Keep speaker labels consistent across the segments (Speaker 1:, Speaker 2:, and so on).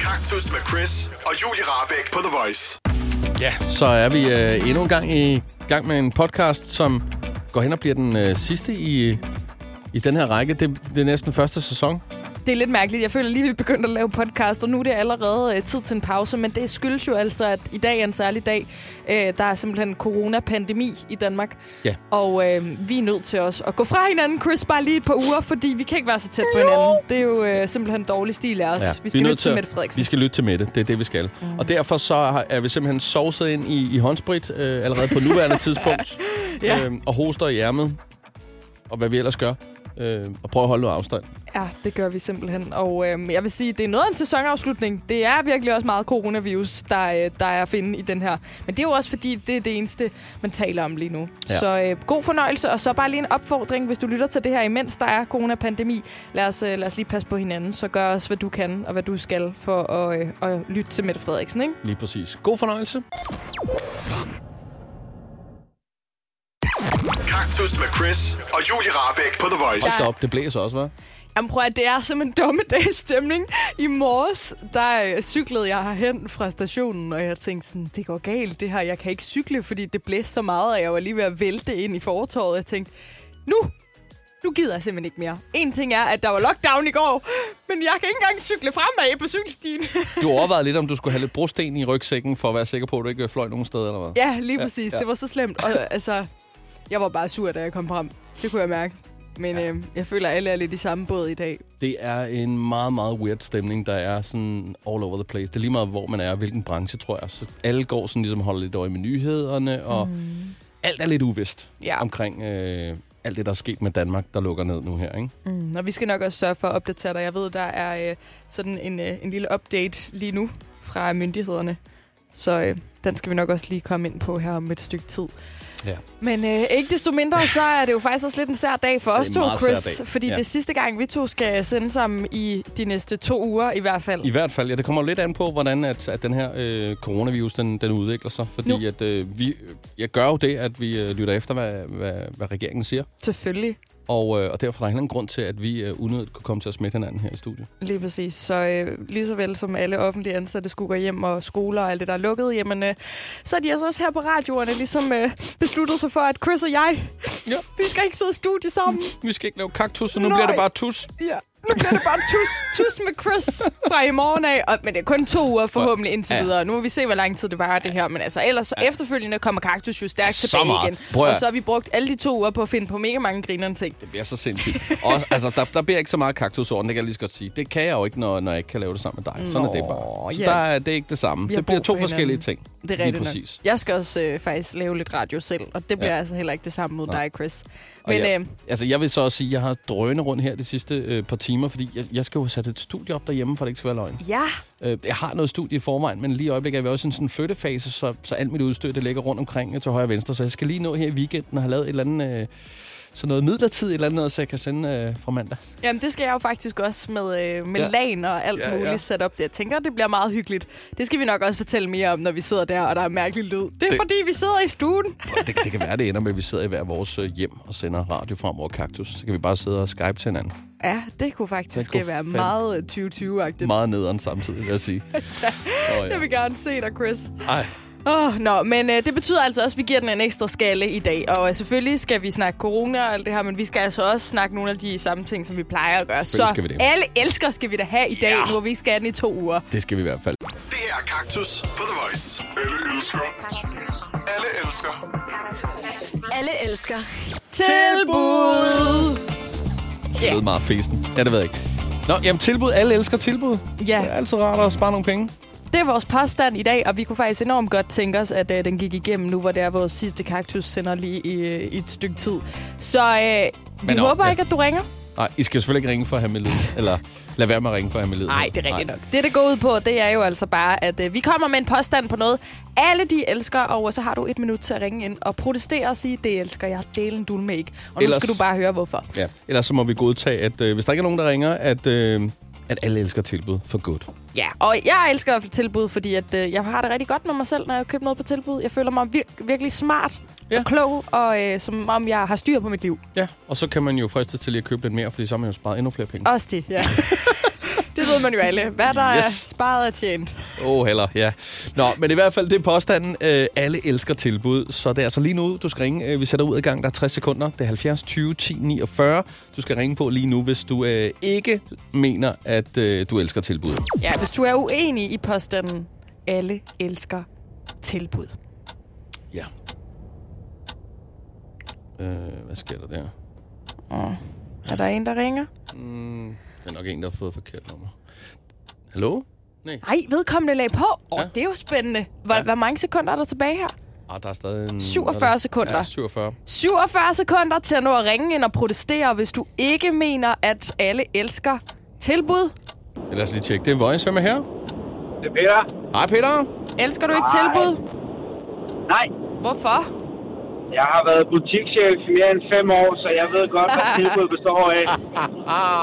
Speaker 1: Kaktus med Chris og Julie Rabeck på The Voice.
Speaker 2: Ja, så er vi øh, endnu en gang i gang med en podcast, som går hen og bliver den øh, sidste i, i den her række. Det, det er næsten første sæson.
Speaker 3: Det er lidt mærkeligt. Jeg føler lige, vi begyndte at lave podcast, og nu er det allerede øh, tid til en pause. Men det skyldes jo altså, at i dag er en særlig dag. Øh, der er simpelthen coronapandemi i Danmark.
Speaker 2: Ja.
Speaker 3: Og øh, vi er nødt til også at gå fra hinanden, Chris, bare lige et par uger, fordi vi kan ikke være så tæt på hinanden. Det er jo øh, simpelthen dårlig stil af os. Ja. Vi skal
Speaker 2: er nødt
Speaker 3: lytte til
Speaker 2: at-
Speaker 3: Mette Frederiksen.
Speaker 2: Vi skal lytte til Mette. Det er det, vi skal. Mm. Og derfor så har- er vi simpelthen sovset ind i, i håndsprit øh, allerede på nuværende tidspunkt.
Speaker 3: Ja.
Speaker 2: Øhm, og hoster i ærmet. Og hvad vi ellers gør. Øh, og prøver at holde noget afstand.
Speaker 3: Ja, det gør vi simpelthen. Og øh, jeg vil sige, det er noget af en sæsonafslutning. Det er virkelig også meget coronavirus, der, øh, der er at finde i den her. Men det er jo også fordi, det er det eneste, man taler om lige nu.
Speaker 2: Ja.
Speaker 3: Ja. Så øh, god fornøjelse, og så bare lige en opfordring, hvis du lytter til det her, imens der er coronapandemi. Lad os, øh, lad os lige passe på hinanden, så gør også, hvad du kan og hvad du skal for at, øh, at lytte til Mette Frederiksen. Ikke?
Speaker 2: Lige præcis. God fornøjelse.
Speaker 1: Kaktus med Chris og Julie Rabeck på The Voice.
Speaker 2: Hold da op, det blæser også, hva'?
Speaker 3: Jamen prøv at det er som en dommedagsstemning. I morges, der øh, cyklede jeg herhen fra stationen, og jeg tænkte sådan, det går galt det her. Jeg kan ikke cykle, fordi det blæste så meget, og jeg var lige ved at vælte ind i fortorvet. Jeg tænkte, nu, nu gider jeg simpelthen ikke mere. En ting er, at der var lockdown i går, men jeg kan ikke engang cykle fremad på cykelstien.
Speaker 2: Du overvejede lidt, om du skulle have lidt brosten i rygsækken, for at være sikker på, at du ikke fløj nogen steder, eller hvad?
Speaker 3: ja, lige
Speaker 2: Ja,
Speaker 3: præcis.
Speaker 2: ja.
Speaker 3: Ja. Det var så slemt. Og, øh, altså, jeg var bare sur, da jeg kom frem. Det kunne jeg mærke. Men ja. øh, jeg føler, at alle er lidt i samme båd i dag.
Speaker 2: Det er en meget, meget weird stemning, der er sådan all over the place. Det er lige meget, hvor man er, hvilken branche, tror jeg. Så alle går sådan ligesom og holder lidt øje med nyhederne, og mm. alt er lidt uvist
Speaker 3: Ja.
Speaker 2: omkring øh, alt det, der er sket med Danmark, der lukker ned nu her, ikke?
Speaker 3: Mm, og vi skal nok også sørge for at opdatere dig. Jeg ved, der er øh, sådan en, øh, en lille update lige nu fra myndighederne. Så øh, den skal vi nok også lige komme ind på her om et stykke tid.
Speaker 2: Ja.
Speaker 3: Men øh, ikke desto mindre, så er det jo faktisk også lidt en sær dag for
Speaker 2: er
Speaker 3: os
Speaker 2: en
Speaker 3: to,
Speaker 2: meget sær
Speaker 3: Chris.
Speaker 2: dag.
Speaker 3: Fordi
Speaker 2: Ja.
Speaker 3: det er sidste gang, vi to skal sende sammen i de næste to uger i hvert fald.
Speaker 2: I hvert fald, ja, det kommer jo lidt an på, hvordan at, at den her øh, coronavirus, den, den udvikler sig. Fordi
Speaker 3: Nu.
Speaker 2: at, øh, vi, jeg gør jo det, at vi øh, lytter efter, hvad, hvad, hvad regeringen siger.
Speaker 3: Selvfølgelig.
Speaker 2: Og, øh, og derfor er der heller ingen grund til, at vi øh, unødigt kunne komme til at smitte hinanden her i studiet.
Speaker 3: Lige præcis. Så øh, lige så vel som alle offentlige ansatte skulle gå hjem og skoler og alt det, der er lukket, jamen, øh, så er de altså også her på radioerne ligesom øh, besluttet sig for, at Chris og jeg,
Speaker 2: Ja.
Speaker 3: vi skal ikke sidde i studie sammen.
Speaker 2: Vi skal ikke lave kaktus, så nu
Speaker 3: Nej.
Speaker 2: bliver det bare tus.
Speaker 3: Ja. Nu bliver det bare tus, tus med Chris fra i morgen af. Og, men det er kun to uger forhåbentlig indtil
Speaker 2: Ja.
Speaker 3: ja. videre. Nu må vi se, hvor lang tid det varer, det her. Men altså, ellers så efterfølgende kommer Kaktus jo stærkt
Speaker 2: Så
Speaker 3: tilbage
Speaker 2: meget.
Speaker 3: igen.
Speaker 2: Prøv at-
Speaker 3: Og så har vi brugt alle de to uger på at finde på mega mange grinerende ting.
Speaker 2: Det bliver så sindssygt. Og, altså, der, der bliver ikke så meget kaktus over den, det kan jeg lige så godt sige. Det kan jeg jo ikke, når, når jeg ikke kan lave det sammen med dig. Sådan er det bare. Så
Speaker 3: ja.
Speaker 2: der, er- det er ikke det samme.
Speaker 3: Vi har
Speaker 2: Det bliver
Speaker 3: brug
Speaker 2: to
Speaker 3: for
Speaker 2: forskellige ting.
Speaker 3: hinanden. Det er
Speaker 2: Lige
Speaker 3: rigtigt nok.
Speaker 2: præcis.
Speaker 3: Jeg skal også øh, faktisk lave lidt radio selv, og det bliver
Speaker 2: Ja.
Speaker 3: ja. altså heller ikke det samme mod
Speaker 2: Nej.
Speaker 3: dig, Chris.
Speaker 2: Og
Speaker 3: Men
Speaker 2: jeg,
Speaker 3: øh,
Speaker 2: altså, jeg vil så også sige, at jeg har drønet rundt her de sidste øh, par timer, fordi jeg, jeg skal jo have sat et studie op derhjemme, for det ikke skal være løgn.
Speaker 3: ja,
Speaker 2: Øh, jeg har noget studie i forvejen, men lige i øjeblikket er vi også i en sådan flyttefase, så, så alt mit udstyr det ligger rundt omkring øh, til højre og venstre. Så jeg skal lige nå her i weekenden og have lavet et eller andet, øh, sådan noget midlertidigt et eller andet, noget, så jeg kan sende øh, fra mandag.
Speaker 3: jamen det skal jeg jo faktisk også med, øh, med
Speaker 2: Ja.
Speaker 3: ja. lagen og alt
Speaker 2: Ja,
Speaker 3: ja,
Speaker 2: ja.
Speaker 3: muligt sat op. Jeg tænker, det bliver meget hyggeligt. Det skal vi nok også fortælle mere om, når vi sidder der, og der er mærkelig lyd. Det er det... fordi, vi sidder i stuen.
Speaker 2: det, det kan være, det ender med, at vi sidder i hver vores øh, hjem og sender radio frem over kaktus. Så kan vi bare sidde og skype til hinanden.
Speaker 3: Ja, det kunne faktisk
Speaker 2: Det kunne
Speaker 3: det kunne være
Speaker 2: fandme-
Speaker 3: meget øh, 2020-agtigt.
Speaker 2: Det... Meget nederen samtidig, vil jeg sige. Nå,
Speaker 3: Jeg vil gerne se dig, Chris.
Speaker 2: Ej,
Speaker 3: Oh, nå, men øh, det betyder altså også, at vi giver den en ekstra skalle i dag. Og øh, selvfølgelig skal vi snakke corona og alt det her, men vi skal altså også snakke nogle af de samme ting, som vi plejer at gøre. Så
Speaker 2: Selvfølgelig skal vi det.
Speaker 3: alle elsker skal vi da have i dag,
Speaker 2: Ja.
Speaker 3: yeah. hvor vi skal have den i to uger.
Speaker 2: det skal vi i hvert fald.
Speaker 1: Det her er Kaktus på The Voice. Alle elsker. Alle elsker.
Speaker 4: Alle elsker
Speaker 3: Tilbud!
Speaker 2: Det ved meget festen. Ja, det ved jeg ikke. Nå, jamen tilbud. Alle elsker tilbud.
Speaker 3: Ja.
Speaker 2: Det er altid rart at spare nogle penge.
Speaker 3: Det er vores påstand i dag, og vi kunne faktisk enormt godt tænke os, at øh, den gik igennem nu, hvor det er vores sidste kaktus sender lige i, øh, i et stykke tid. Så øh, vi
Speaker 2: Men, nå,
Speaker 3: håber
Speaker 2: ja.
Speaker 3: ikke, at du ringer.
Speaker 2: Nej, I skal selvfølgelig ikke ringe for at have med lyd. Eller lad være med at ringe for at have med lyd.
Speaker 3: Nej, det er rigtigt nok. Det, det går ud på, det er jo altså bare, at øh, vi kommer med en påstand på noget, alle de elsker, og så har du et minut til at ringe ind og protestere og sige, det elsker jeg, delen du med ikke. Og nu
Speaker 2: Ellers-
Speaker 3: Ellers... skal du bare høre, hvorfor.
Speaker 2: Ja. Ellers så må vi godtage, at øh, hvis der ikke er nogen, der ringer, at, øh, at alle elsker tilbud for godt.
Speaker 3: Ja, og jeg elsker at få tilbud, fordi at, øh, jeg har det rigtig godt med mig selv, når jeg køber noget på tilbud. Jeg føler mig vir- virkelig smart
Speaker 2: Ja.
Speaker 3: ja. og klog, og øh, som om jeg har styr på mit liv.
Speaker 2: Ja, og så kan man jo friste til lige at købe lidt mere, fordi så har man jo sparet endnu flere penge.
Speaker 3: Også det. Ja. det Det ved man jo alle. Hvad der yes. er
Speaker 2: Yes.
Speaker 3: sparet er tjent.
Speaker 2: Åh, oh, heller, ja. Nå, men i hvert fald, det er påstanden. Øh, alle elsker tilbud, så det er altså lige nu, du skal ringe. Øh, Vi sætter ud i gang, der er 60 sekunder. Det er 70 20 10 49. Du skal ringe på lige nu, hvis du øh, ikke mener, at øh, du elsker tilbud.
Speaker 3: Ja, hvis du er uenig i påstanden, alle elsker tilbud.
Speaker 2: Ja. Øh, hvad sker der der?
Speaker 3: Er der en, der ringer?
Speaker 2: Mm, der er nok en, der har fået forkert nummer. Hallo? Nej.
Speaker 3: Ej, vedkommende lag på. Åh, oh,
Speaker 2: Ja.
Speaker 3: ja. det er jo spændende. Hvor,
Speaker 2: Ja.
Speaker 3: ja. hvor mange sekunder er der tilbage her?
Speaker 2: Ah, der er stadig en...
Speaker 3: 47 sekunder.
Speaker 2: Ja, 47.
Speaker 3: 47 sekunder til at nå at ringe ind og protestere, hvis du ikke mener, at alle elsker tilbud.
Speaker 2: Lad os lige tjekke. Det er Voice. Hvem er her?
Speaker 5: Det er Peter.
Speaker 2: Hej, Peter.
Speaker 3: Elsker du ikke tilbud?
Speaker 5: Nej,
Speaker 3: Hvorfor?
Speaker 5: jeg har været butikschef i mere end fem år, så jeg ved godt, hvad tilbud består af.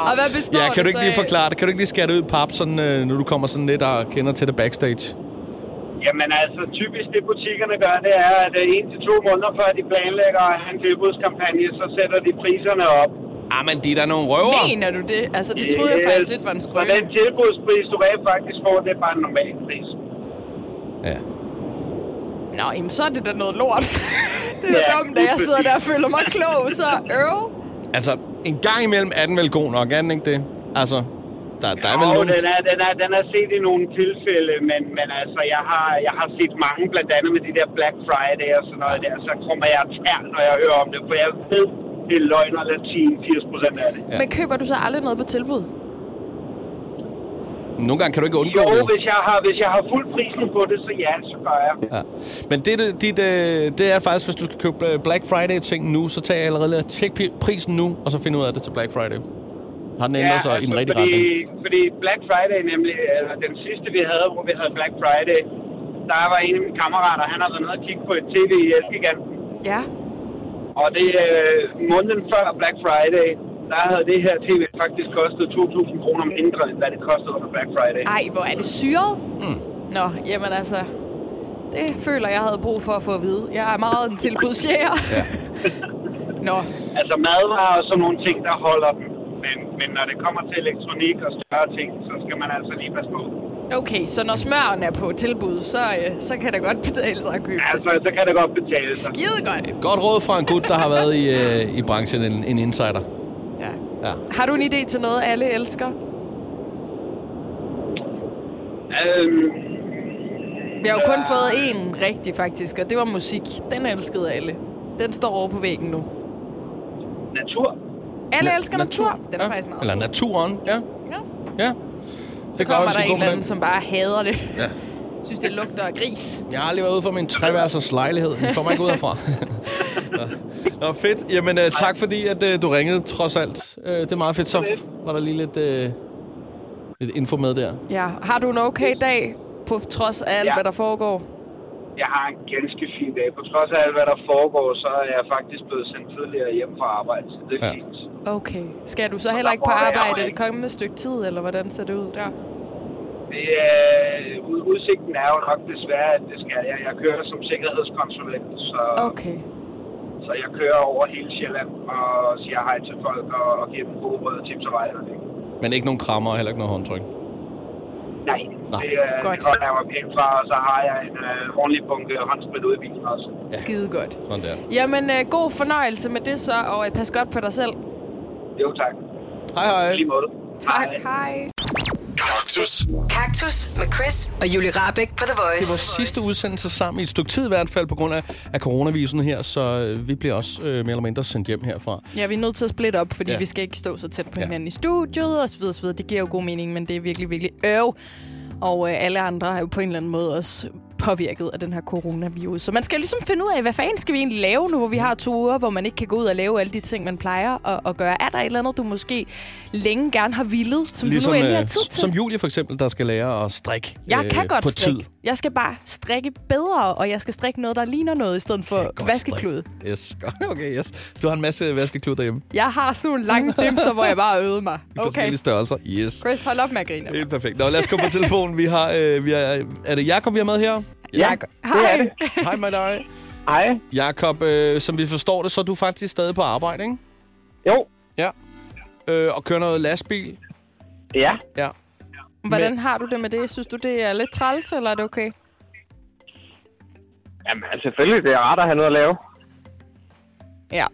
Speaker 3: Og hvad består
Speaker 2: Ja, kan du
Speaker 3: det
Speaker 2: ikke
Speaker 3: så
Speaker 2: lige
Speaker 3: af?
Speaker 2: forklare det? Kan du ikke lige skære det ud, pap, sådan, øh, når du kommer sådan lidt og kender til det backstage?
Speaker 5: Jamen altså, typisk det butikkerne gør, det er, at øh, en til to måneder før de planlægger at have en tilbudskampagne, så sætter de priserne op.
Speaker 2: Ah, men de er da nogle røver.
Speaker 3: Mener du det? Altså, det troede jeg faktisk lidt var en
Speaker 5: Så den
Speaker 3: skrøne.
Speaker 5: tilbudspris, du rent faktisk får, det er bare en normal pris.
Speaker 2: Ja.
Speaker 3: Nå, jamen, så er det da noget lort. det er
Speaker 5: Ja,
Speaker 3: da dumt, at jeg
Speaker 5: lige
Speaker 3: sidder der og
Speaker 5: præcis.
Speaker 3: føler mig klog, så øv.
Speaker 2: Altså, en gang imellem er den vel god nok, er den ikke det? Altså, der, der er vel
Speaker 5: Jo,
Speaker 2: nogle...
Speaker 5: den, er, den, er, den er set i nogle tilfælde, men, men altså, jeg har, jeg har set mange, blandt andet med de der Black Friday og sådan noget der, så kommer jeg tær, når jeg hører om det, for jeg ved, det er løgn og latin, 80 procent af det.
Speaker 2: Ja.
Speaker 3: Men køber du så aldrig noget på tilbud?
Speaker 2: Nogle gange kan du ikke undgå
Speaker 5: Jo,
Speaker 2: det.
Speaker 5: hvis jeg, har, hvis jeg har fuld prisen på det, så ja, så gør jeg.
Speaker 2: Ja. Men det, det, dit, øh, det er faktisk, hvis du skal købe øh, Black Friday-ting nu, så tag allerede lige og tjek pi- prisen nu, og så find ud af det til Black Friday. Har den ændret sig i den rigtige
Speaker 5: altså, fordi,
Speaker 2: retning?
Speaker 5: Fordi Black Friday nemlig, altså den sidste vi havde, hvor vi havde Black Friday, der var en af mine kammerater, han har været nede og kigge på et tv i Elgiganten,
Speaker 3: Ja.
Speaker 5: Og det øh, måneden før Black Friday, der havde det her tv faktisk kostet 2.000 kroner mindre, end hvad det kostede under Black Friday.
Speaker 3: Ej, hvor er det syret? Mm. Nå, jamen altså... Det føler jeg havde brug for at få at vide. Jeg er meget en tilbudsjæger. Ja. Nå,
Speaker 5: Altså madvarer og sådan nogle ting, der holder dem. Men, men når det kommer til elektronik og større ting, så skal man altså lige passe på.
Speaker 3: okay, så når smøren er på tilbud, så, øh, så kan det godt betale sig at købe det.
Speaker 5: Altså, så kan det godt betale sig.
Speaker 3: Skide godt.
Speaker 2: Godt råd fra en gut, der har været i, øh, i branchen, en, en insider.
Speaker 3: Ja.
Speaker 2: Ja.
Speaker 3: Har du en idé til noget, alle elsker?
Speaker 5: Øhm,
Speaker 3: Vi har jo kun fået én rigtig, faktisk, og det var musik. Den elskede alle. Den står over på væggen nu.
Speaker 5: natur.
Speaker 3: Alle
Speaker 2: Na-
Speaker 3: elsker natur. Den er
Speaker 2: ja.
Speaker 3: faktisk meget
Speaker 2: Eller
Speaker 3: sød.
Speaker 2: naturen, ja.
Speaker 3: Ja.
Speaker 2: Ja. Det
Speaker 3: Så kommer
Speaker 2: vi
Speaker 3: der
Speaker 2: skal
Speaker 3: en
Speaker 2: gå
Speaker 3: eller
Speaker 2: med
Speaker 3: anden, som bare hader det.
Speaker 2: Ja.
Speaker 3: Synes, det lugter af gris.
Speaker 2: den. Jeg har aldrig været ude for min treværelsers lejlighed. Den får mig ikke ud herfra. Nå. Nå, fedt. Jamen, øh, tak fordi, at øh, du ringede, trods alt. Øh, det er meget fedt. Så var der lige lidt, øh, lidt info med der.
Speaker 3: Ja. Har du en okay dag, på trods af alt, ja.
Speaker 5: Ja.
Speaker 3: hvad der foregår?
Speaker 5: Jeg har en ganske fin dag. På trods af alt, hvad der foregår, så er jeg faktisk blevet sendt tidligere hjem fra arbejde. Så det er
Speaker 2: Ja.
Speaker 5: ja. fint.
Speaker 3: Okay. Skal du så heller ikke på
Speaker 5: prøver jeg
Speaker 3: arbejde
Speaker 5: mig.
Speaker 3: det kommende stykke tid, eller hvordan ser det ud der?
Speaker 5: Det er, ud- udsigten er jo nok desværre, at det skal. Jeg, jeg kører som sikkerhedskonsulent, så,
Speaker 3: Okay.
Speaker 5: så jeg kører over hele Sjælland og siger hej til folk og, og giver dem gode råd og tips og vejledning.
Speaker 2: Men ikke nogen krammer og heller ikke noget håndtryk.
Speaker 5: Nej,
Speaker 2: Nå,
Speaker 5: det, øh,
Speaker 3: godt.
Speaker 5: det holder jeg mig pænt fra, og så har jeg en øh, ordentlig bunke håndsprit ude i bilen også.
Speaker 3: Skide godt.
Speaker 2: Sådan der.
Speaker 3: Jamen, øh, god fornøjelse med det så, og øh, pas godt på dig selv.
Speaker 5: Jo tak.
Speaker 2: Hej, hej.
Speaker 5: I lige måde.
Speaker 3: Tak. Hej.
Speaker 1: Kaktus.
Speaker 4: Kaktus med Chris og Julie Rabeck på The Voice.
Speaker 2: Det var sidste udsendelse sammen i et stykke tid i hvert fald, på grund af, af coronavirusen her, så øh, vi bliver også øh, mere eller mindre sendt hjem herfra.
Speaker 3: Ja, vi er nødt til at splitte op, fordi
Speaker 2: Ja.
Speaker 3: ja. vi skal ikke stå så tæt på
Speaker 2: Ja.
Speaker 3: hinanden i studiet og så videre, så videre. Det giver jo god mening, men det er virkelig, virkelig øv. Og øh, alle andre er jo på en eller anden måde også påvirket af den her coronavirus. Så man skal ligesom finde ud af, hvad fanden skal vi egentlig lave nu, hvor vi har to uger, hvor man ikke kan gå ud og lave alle de ting, man plejer at, at gøre. Er der et eller andet, du måske længe gerne har villet, som ligesom, du nu endelig har
Speaker 2: øh,
Speaker 3: tid til?
Speaker 2: som Julie for eksempel, der skal lære at strikke
Speaker 3: jeg
Speaker 2: øh,
Speaker 3: kan godt
Speaker 2: på
Speaker 3: strikke.
Speaker 2: tid.
Speaker 3: Jeg skal bare strikke bedre, og jeg skal strikke noget, der ligner noget, i stedet for
Speaker 2: Godt
Speaker 3: vaskeklud.
Speaker 2: strik. Yes, godt. okay, yes. Du har en masse vaskeklud derhjemme. Okay.
Speaker 3: Jeg har sådan nogle lange dimser, hvor jeg bare øvede mig.
Speaker 2: I
Speaker 3: Okay.
Speaker 2: forskellige størrelser. Yes.
Speaker 3: Chris, hold op med at grine.
Speaker 2: Helt perfekt. Nå, lad os gå på telefonen. Vi har, øh, vi har, er det Jakob, vi har med her?
Speaker 3: Ja,
Speaker 5: er
Speaker 3: hej.
Speaker 5: det.
Speaker 2: Hej med dig.
Speaker 5: Hej.
Speaker 2: Jakob, øh, som vi forstår det, så er du faktisk stadig på arbejde, ikke?
Speaker 5: Jo.
Speaker 2: Ja. Øh, og kører noget lastbil.
Speaker 5: Ja.
Speaker 2: Ja.
Speaker 3: Hvordan Men... har du det med det? Synes du, det er lidt træls, eller er det okay?
Speaker 6: Jamen, altså, selvfølgelig, det er rart at have noget at lave.
Speaker 3: Ja.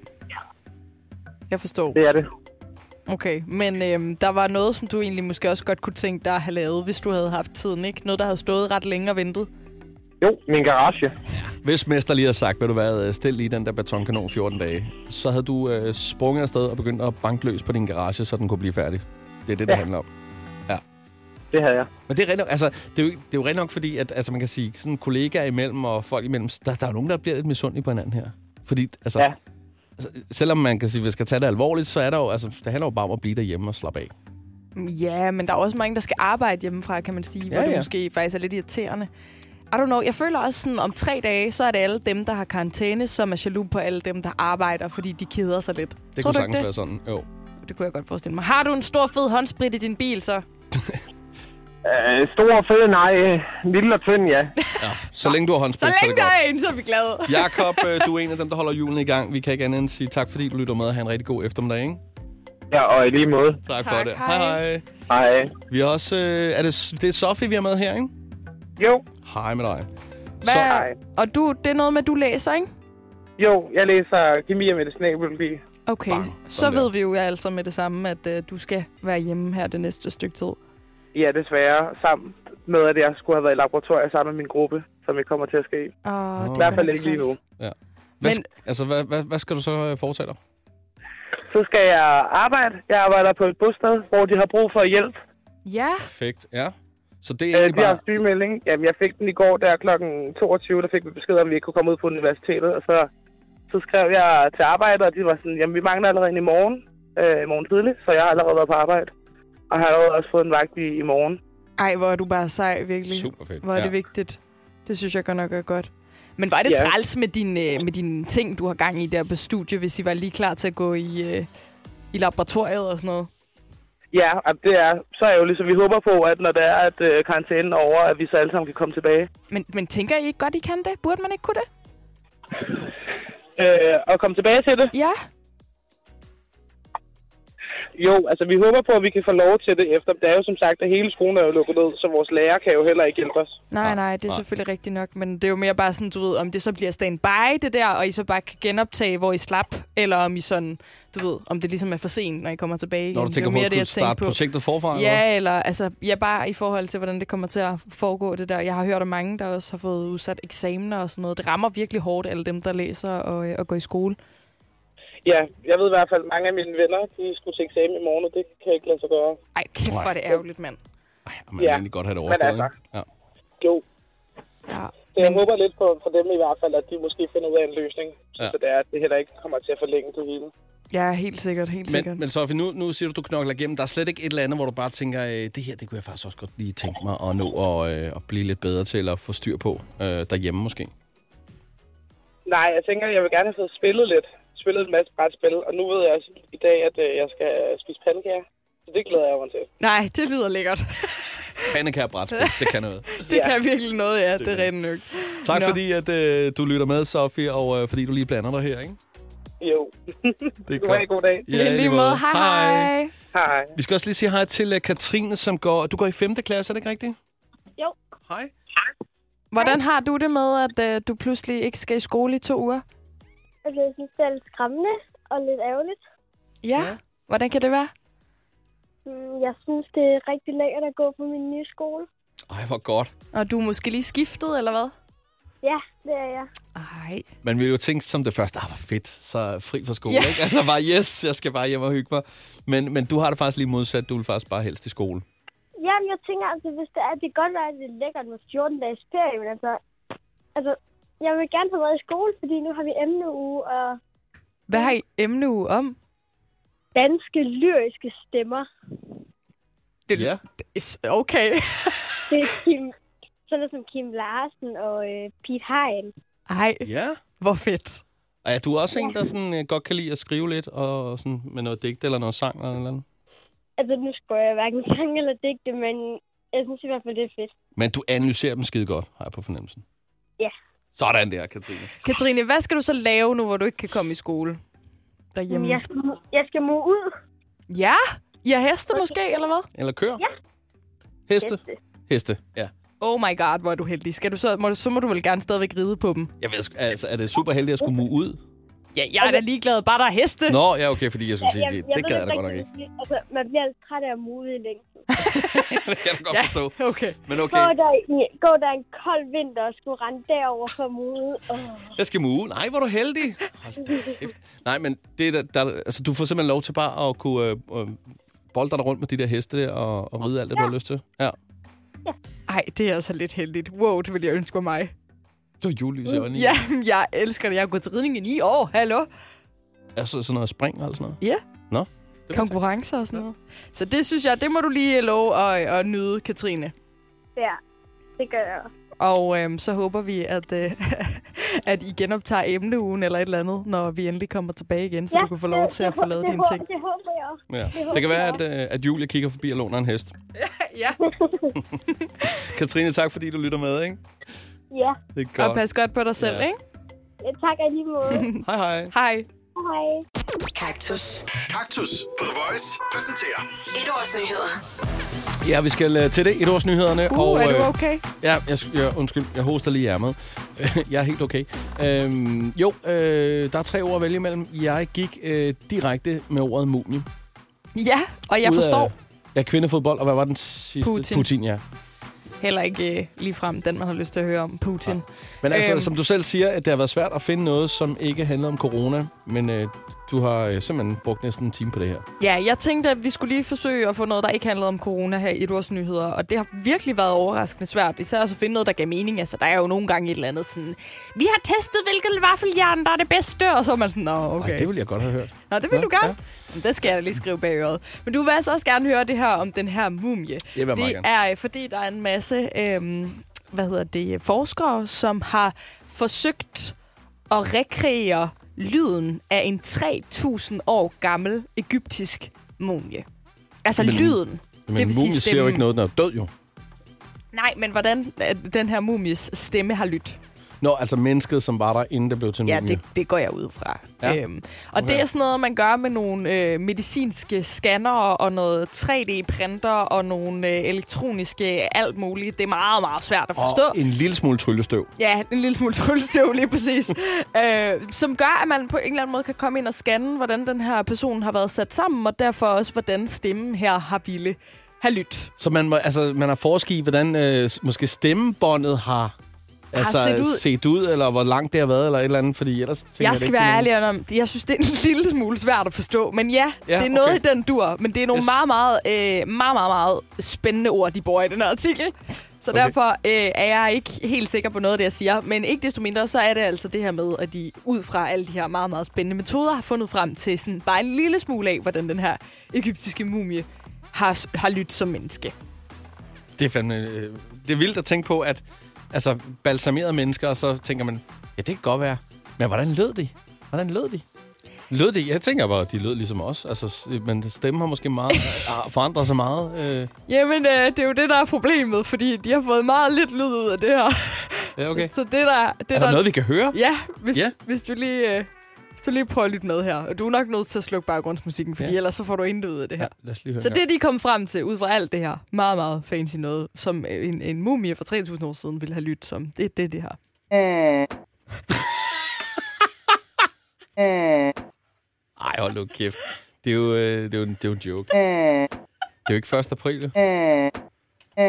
Speaker 3: Jeg forstår.
Speaker 6: Det er det.
Speaker 3: Okay, men øhm, der var noget, som du egentlig måske også godt kunne tænke dig at have lavet, hvis du havde haft tiden, ikke? Noget, der havde stået ret længe og ventet.
Speaker 6: Jo, min garage.
Speaker 2: Hvis mester lige havde sagt, ved du hvad, øh, stil lige den der betonkanon 14 dage, så havde du øh, sprunget afsted og begyndt at banke løs på din garage, så den kunne blive færdig. Det er det, det ja.
Speaker 6: Ja.
Speaker 2: handler om.
Speaker 6: Det havde jeg.
Speaker 2: Men det er, rent nok, altså, det er, jo, det er jo rent nok, fordi at, altså, man kan sige, sådan kollegaer imellem og folk imellem, der, der er jo nogen, der bliver lidt misundelige på hinanden her. Fordi, altså, ja.
Speaker 6: Ja.
Speaker 2: altså, selvom man kan sige, at vi skal tage det alvorligt, så er der jo, altså, det handler jo bare om at blive derhjemme og slappe af.
Speaker 3: Ja, men der er også mange, der skal arbejde hjemmefra, kan man sige, ja, hvor
Speaker 2: Ja,
Speaker 3: det
Speaker 2: ja.
Speaker 3: måske faktisk er lidt irriterende. I don't know. Jeg føler også sådan, om tre dage, så er det alle dem, der har karantæne, som er jaloux på alle dem, der arbejder, fordi de keder sig lidt.
Speaker 2: Det kunne
Speaker 3: Tror du
Speaker 2: sagtens
Speaker 3: ikke
Speaker 2: være
Speaker 3: det?
Speaker 2: sådan. Jo.
Speaker 3: Det kunne jeg godt forestille mig. Har du en stor, fed håndsprit i din bil, så?
Speaker 6: Øh, stor og fed, nej. øh, Lille og tynd, ja.
Speaker 2: Så længe du har
Speaker 3: Så
Speaker 2: håndsprit, så,
Speaker 3: længe der
Speaker 2: er det
Speaker 3: er en, så er vi glade.
Speaker 2: godt. Jakob, øh, du er en af dem, der holder julen i gang. Vi kan ikke andet end sige tak, fordi du lytter med og have en rigtig god eftermiddag. Ikke?
Speaker 6: Ja, og i lige måde.
Speaker 2: Tak, for
Speaker 3: Tak,
Speaker 2: det.
Speaker 3: hej.
Speaker 2: hej. hej.
Speaker 6: Hej.
Speaker 2: Vi har også... Øh, er det, det er Sofie, vi har med her, ikke?
Speaker 6: Jo,
Speaker 2: Hej med dig.
Speaker 3: Hvad?
Speaker 2: Så,
Speaker 3: Og du, det er noget med, at du læser, ikke?
Speaker 6: jo, jeg læser kemi og medicinalbiologi.
Speaker 3: Okay,
Speaker 2: Bang.
Speaker 3: så
Speaker 2: Sådan der.
Speaker 3: ved vi jo altså med det samme, at øh, du skal være hjemme her det næste stykke tid.
Speaker 6: Ja, desværre. Samt noget af det, jeg skulle have været i laboratoriet sammen med min gruppe, som jeg kommer til at ske.
Speaker 3: Og
Speaker 2: I
Speaker 6: I hvert fald ikke lige nu.
Speaker 2: hvad,
Speaker 3: Men-
Speaker 2: men, altså, hvad, hvad, hvad skal du så øh, foretage dig?
Speaker 6: Så skal jeg arbejde. Jeg arbejder på et bosted, hvor de har brug for hjælp.
Speaker 3: Ja,
Speaker 2: Perfekt, ja. Så det er
Speaker 6: Øh,
Speaker 2: egentlig
Speaker 6: de har
Speaker 2: bare...
Speaker 6: sygemelding. Jamen, jeg fik den i går, der kl. 22, der fik vi besked om, at vi ikke kunne komme ud på universitetet. Og så, så skrev jeg til arbejde, og de var sådan, jamen, vi mangler allerede en i morgen. Øh, i morgen tidligt, så jeg har allerede været på arbejde. Og har allerede også fået en vagt i, i morgen.
Speaker 3: ej, hvor er du bare sej, virkelig.
Speaker 2: Super fedt.
Speaker 3: Hvor er det
Speaker 2: ja.
Speaker 3: vigtigt. Det synes jeg godt nok er godt. Men var det
Speaker 6: Ja.
Speaker 3: træls med dine, øh, med dine ting, du har gang i der på studie, hvis I var lige klar til at gå i, øh, i laboratoriet og sådan noget?
Speaker 6: Ja, og det er så er jo ligesom, vi håber på, at når det er, at øh, karantænen er over, at vi så alle sammen kan komme tilbage.
Speaker 3: Men, men tænker I ikke godt, I kan det? Burde man ikke kunne det?
Speaker 6: Øh, og komme tilbage til det?
Speaker 3: Ja.
Speaker 6: Jo, altså vi håber på, at vi kan få lov til det, efter det er jo som sagt, at hele skolen er jo lukket ned, så vores lærer kan jo heller ikke hjælpe os.
Speaker 3: Nej, nej, det er
Speaker 2: nej.
Speaker 3: selvfølgelig rigtigt nok, men det er jo mere bare sådan, du ved, om det så bliver standby, det der, og I så bare kan genoptage, hvor I slap, eller om I sådan, du ved, om det ligesom er for sent, når I kommer tilbage igen.
Speaker 2: Når du tænker
Speaker 3: det
Speaker 2: på,
Speaker 3: er jo
Speaker 2: at
Speaker 3: mere det,
Speaker 2: skulle
Speaker 3: jeg tænker
Speaker 2: starte
Speaker 3: på.
Speaker 2: projektet forfra? eller hvad?
Speaker 3: Ja, eller altså, ja, bare i forhold til, hvordan det kommer til at foregå det der. Jeg har hørt om mange, der også har fået udsat eksamener og sådan noget. Det rammer virkelig hårdt, alle dem, der læser og, øh, og går i skole.
Speaker 6: Ja, jeg ved i hvert fald, at mange af mine venner, de skulle til eksamen i morgen, og det kan jeg ikke lade sig gøre.
Speaker 3: Ej, kæft, hvor er det ærgerligt, mand.
Speaker 2: Ej, man vil
Speaker 6: Ja.
Speaker 2: egentlig godt have det overstået,
Speaker 6: altså-
Speaker 2: ikke? Ja.
Speaker 6: Jo,
Speaker 3: Ja.
Speaker 6: så
Speaker 3: Men-
Speaker 6: jeg Men... håber lidt på for dem i hvert fald, at de måske finder ud af en løsning,
Speaker 2: Ja.
Speaker 6: ja. så det er, at det heller ikke kommer til at forlænge det hele.
Speaker 3: Ja, helt sikkert, helt sikkert.
Speaker 2: Men, men Sofie, nu, nu siger du, du knokler igennem. Der er slet ikke et eller andet, hvor du bare tænker, øh, det her, det kunne jeg faktisk også godt lige tænke mig at nå og, øh, at blive lidt bedre til at få styr på øh, derhjemme måske.
Speaker 6: Nej, jeg tænker, at jeg vil gerne have fået spillet lidt. Spillet en masse brætspil, og nu ved jeg også i dag, at øh, jeg skal øh, spise pandekager. Så det glæder jeg mig til.
Speaker 3: Nej, det lyder lækkert.
Speaker 2: Pandekær brætspil, det kan noget.
Speaker 3: Det ja. kan virkelig noget, ja. Det er rent nok.
Speaker 2: Tak
Speaker 3: Nå.
Speaker 2: fordi, at øh, du lytter med, Sofie, og øh, fordi du lige blander dig her, ikke?
Speaker 6: Jo,
Speaker 2: Det er
Speaker 6: du har en god dag.
Speaker 2: Ja,
Speaker 3: I lige måde. Hej, hej.
Speaker 6: Hej.
Speaker 2: Vi skal også lige sige hej til øh, Katrine, som går... Du går i 5. klasse, er det ikke rigtigt?
Speaker 7: Jo.
Speaker 2: Hej.
Speaker 3: Hvordan har du det med, at øh, du pludselig ikke skal i skole i to uger?
Speaker 7: Altså, jeg synes, det er lidt skræmmende og lidt ærgerligt.
Speaker 3: Ja. ja. Hvordan kan det være?
Speaker 7: Mm, Jeg synes, det er rigtig lækkert at gå på min nye skole.
Speaker 2: Ej, hvor godt.
Speaker 3: Og du er måske lige skiftet, eller hvad?
Speaker 7: Ja, det er jeg.
Speaker 3: Ej.
Speaker 2: Man vil jo tænke som det første, ah, hvor fedt, så fri fra skole,
Speaker 3: Ja.
Speaker 2: ja. ikke? Altså bare, yes, jeg skal bare hjem og hygge mig. Men, men du har det faktisk lige modsat, du vil faktisk bare helst i skole.
Speaker 7: Jamen, jeg tænker, altså, hvis det er, det kan godt være, at det er lækkert med 14 dages ferie, men altså, altså, jeg vil gerne have været i skole, fordi nu har vi emneuge og
Speaker 3: Hvad har I emneuge om?
Speaker 7: danske lyriske stemmer.
Speaker 3: Det-
Speaker 2: Ja.
Speaker 3: Okay.
Speaker 7: Det er Kim, sådan noget som Kim Larsen og øh, Pete Hein.
Speaker 3: Ej,
Speaker 2: Ja.
Speaker 3: hvor fedt.
Speaker 2: Og er du også en, der sådan, øh, godt kan lide at skrive lidt og sådan, med noget digt eller noget sang eller noget? andet?
Speaker 7: Altså, nu skriver jeg hverken sang eller digte, men jeg synes i hvert fald, det er fedt.
Speaker 2: Men du analyserer dem skide godt, har jeg på fornemmelsen.
Speaker 7: Ja.
Speaker 2: Sådan der, Katrine.
Speaker 3: Katrine, hvad skal du så lave nu, hvor du ikke kan komme i skole derhjemme?
Speaker 7: Jeg skal, jeg skal må ud.
Speaker 3: ja? I har heste måske, eller hvad?
Speaker 2: Eller kør. Ja. Heste?
Speaker 7: heste.
Speaker 2: Heste, ja.
Speaker 3: Oh my god, hvor er du heldig. Skal du så, må, du- så må du vel gerne stadigvæk ride på dem.
Speaker 2: Jeg ved sgu- altså, er det super heldigt at skulle mue ud?
Speaker 3: Ja, jeg er da ligeglad. Bare der er heste.
Speaker 2: Nå, ja, okay, fordi jeg skulle sige, det, det
Speaker 7: ved
Speaker 2: gad jeg da
Speaker 7: ikke
Speaker 2: godt nok ikke.
Speaker 7: rigtig, Altså, man bliver lidt træt af at move i længe.
Speaker 2: Det kan jeg da godt
Speaker 3: Ja.
Speaker 2: forstå.
Speaker 3: Okay.
Speaker 2: Men
Speaker 7: Gå
Speaker 2: okay,
Speaker 7: der, i- gå der en kold vinter og skulle rende derover for at move. Åh,
Speaker 2: jeg skal mue. Nej, hvor er du heldig. Hold da kæft. Nej, men det er der, der, altså, du får simpelthen lov til bare at kunne øh, øh, bolde dig rundt med de der heste der og, og ride alt det, du har lyst til. Ja.
Speaker 3: Ej, det er altså lidt heldigt. Wow, det ville jeg ønske mig.
Speaker 2: Du har julelys i øjnene.
Speaker 3: Mm, Ja, jeg elsker det. Jeg har gået til ridning i ni år. Hallo?
Speaker 2: Altså sådan noget spring og alt sådan noget.
Speaker 3: Ja.
Speaker 2: Nå. Det vidste
Speaker 3: Konkurrencer og sådan noget. Så det synes jeg, det må du lige øh, love at, at nyde, Katrine.
Speaker 7: ja, det gør jeg.
Speaker 3: Og øhm, så håber vi, at, øh, at I genoptager emneugen eller et eller andet, når vi endelig kommer tilbage igen, så
Speaker 7: ja,
Speaker 3: du kan få lov
Speaker 7: det-
Speaker 3: til at
Speaker 7: det
Speaker 3: få
Speaker 7: hå-
Speaker 3: lavet
Speaker 7: det
Speaker 3: dine
Speaker 7: hå-
Speaker 3: ting.
Speaker 7: Det håber jeg også.
Speaker 2: jeg. Ja. Det kan være, at, øh, at Julia kigger forbi og låner en hest.
Speaker 3: Ja,
Speaker 2: Katrine, tak fordi du lytter med, ikke?
Speaker 7: Ja,
Speaker 2: Det er
Speaker 3: og
Speaker 2: godt.
Speaker 3: pas godt på dig selv,
Speaker 2: Ja.
Speaker 3: ikke?
Speaker 7: tak alligevel.
Speaker 2: Hej hej.
Speaker 3: Hej.
Speaker 7: Hej.
Speaker 4: Kaktus.
Speaker 1: Kaktus på The Voice præsenterer
Speaker 4: Et års nyheder.
Speaker 2: Ja, vi skal øh, til det. Et års nyhederne.
Speaker 3: Uh,
Speaker 2: og,
Speaker 3: er du
Speaker 2: øh,
Speaker 3: okay?
Speaker 2: Ja, jeg, sk- ja, undskyld, jeg hoster lige i ærmet. jeg er helt okay. Øhm, jo, øh, der er tre ord at vælge imellem. Jeg gik øh, direkte med ordet mumie.
Speaker 3: Ja, og jeg
Speaker 2: Ud af-
Speaker 3: forstår
Speaker 2: Ja, kvindefodbold, og hvad var den sidste?
Speaker 3: Putin.
Speaker 2: Putin, ja.
Speaker 3: heller ikke øh, ligefrem den, man har lyst til at høre om, Putin.
Speaker 2: Men altså,
Speaker 3: Øhm.
Speaker 2: øhm. som du selv siger, at det har været svært at finde noget, som ikke handlede om corona. Men øh, du har øh, simpelthen brugt næsten en time på det her.
Speaker 3: Ja, jeg tænkte, at vi skulle lige forsøge at få noget, der ikke handlede om corona her i et års nyheder. Og det har virkelig været overraskende svært. Især også at finde noget, der gav mening. Altså, der er jo nogle gange et eller andet sådan... Vi har testet, hvilket vaffeljern, der er det bedste. Og så er man sådan, nå, okay.
Speaker 2: Ej, det ville jeg godt have hørt.
Speaker 3: Nå, det vil
Speaker 2: Nå,
Speaker 3: du gerne.
Speaker 2: ja.
Speaker 3: Ja. Det skal jeg da lige skrive bag øret. Men du vil altså også gerne høre det her om den her mumie.
Speaker 2: vil jeg meget
Speaker 3: det
Speaker 2: gerne.
Speaker 3: er øh, fordi, der er en masse øhm, hvad hedder det, forskere, som har forsøgt at rekreere lyden af en 3.000 år gammel egyptisk mumie. Altså
Speaker 2: Men-
Speaker 3: lyden.
Speaker 2: Men
Speaker 3: Det vil sige
Speaker 2: mumie siger jo
Speaker 3: stemmen.
Speaker 2: ikke noget, når er død jo.
Speaker 3: Nej, men hvordan at den her mumies stemme har lyttet.
Speaker 2: Nå, altså mennesket, som var der, inden det blev til en
Speaker 3: Ja,
Speaker 2: mumie.
Speaker 3: det, det går jeg ud fra.
Speaker 2: Ja.
Speaker 3: Øhm, og
Speaker 2: Okay.
Speaker 3: okay. det er sådan noget, man gør med nogle øh, medicinske scanner og noget 3D-printer og nogle øh, elektroniske alt muligt. Det er meget, meget svært at forstå.
Speaker 2: Og en lille smule tryllestøv.
Speaker 3: Ja, en lille smule tryllestøv lige præcis. øh, som gør, at man på en eller anden måde kan komme ind og scanne, hvordan den her person har været sat sammen, og derfor også, hvordan stemmen her har ville have lyttet.
Speaker 2: Så man, må, altså, man har forsket i, hvordan øh, s- måske stemmebåndet har, altså,
Speaker 3: set ud.
Speaker 2: set ud, eller hvor langt det har været, eller et eller andet, fordi ellers tænker
Speaker 3: Jeg skal
Speaker 2: det ikke,
Speaker 3: være
Speaker 2: det er
Speaker 3: ærlig om, jeg synes, det er en lille smule svært at forstå. Men ja,
Speaker 2: Ja,
Speaker 3: ja det er noget
Speaker 2: okay.
Speaker 3: i den dur. Men det er nogle
Speaker 2: Yes.
Speaker 3: yes. meget, meget, øh, meget, meget, meget spændende ord, de bruger i den her artikel. Så
Speaker 2: Okay.
Speaker 3: okay. derfor øh, er jeg ikke helt sikker på noget af det, jeg siger. Men ikke desto mindre, så er det altså det her med, at de ud fra alle de her meget, meget spændende metoder, har fundet frem til sådan bare en lille smule af, hvordan den her egyptiske mumie har, har lyttet som menneske.
Speaker 2: nogen- Det er, fandme, øh, det er vildt at tænke på, at altså, balsamerede mennesker, og så tænker man, ja, det kan godt være. Men hvordan lød de? Hvordan lød de? Lød de? Jeg tænker bare, at de lød ligesom os. Altså, s- men stemmen har måske meget, har forandret sig meget. Øh,
Speaker 3: Jamen, øh, det er jo det, der er problemet, fordi de har fået meget lidt lyd ud af det her.
Speaker 2: ja, okay.
Speaker 3: Så det, der, det
Speaker 2: Er der noget, vi kan høre?
Speaker 3: Ja, hvis,
Speaker 2: Ja.
Speaker 3: ja. hvis du lige... Øh, hvis du lige prøver at lytte med her. Og du er nok nødt til at slukke baggrundsmusikken, fordi
Speaker 2: Ja.
Speaker 3: ja. ellers så får du intet ud af det her.
Speaker 2: Ja,
Speaker 3: Ja.
Speaker 2: lad os lige høre
Speaker 3: Så
Speaker 2: en
Speaker 3: det, de kom frem til, ud fra alt det her, meget, meget fancy noget, som øh, en, en mumie for 3.000 år siden ville have lyttet som, det er det, det her.
Speaker 2: gang. Ej, hold nu kæft. Det er jo, øh, det er jo, en, det er jo en joke. Det
Speaker 3: Øh.
Speaker 2: er jo ikke 1. april. jo.
Speaker 3: Åh,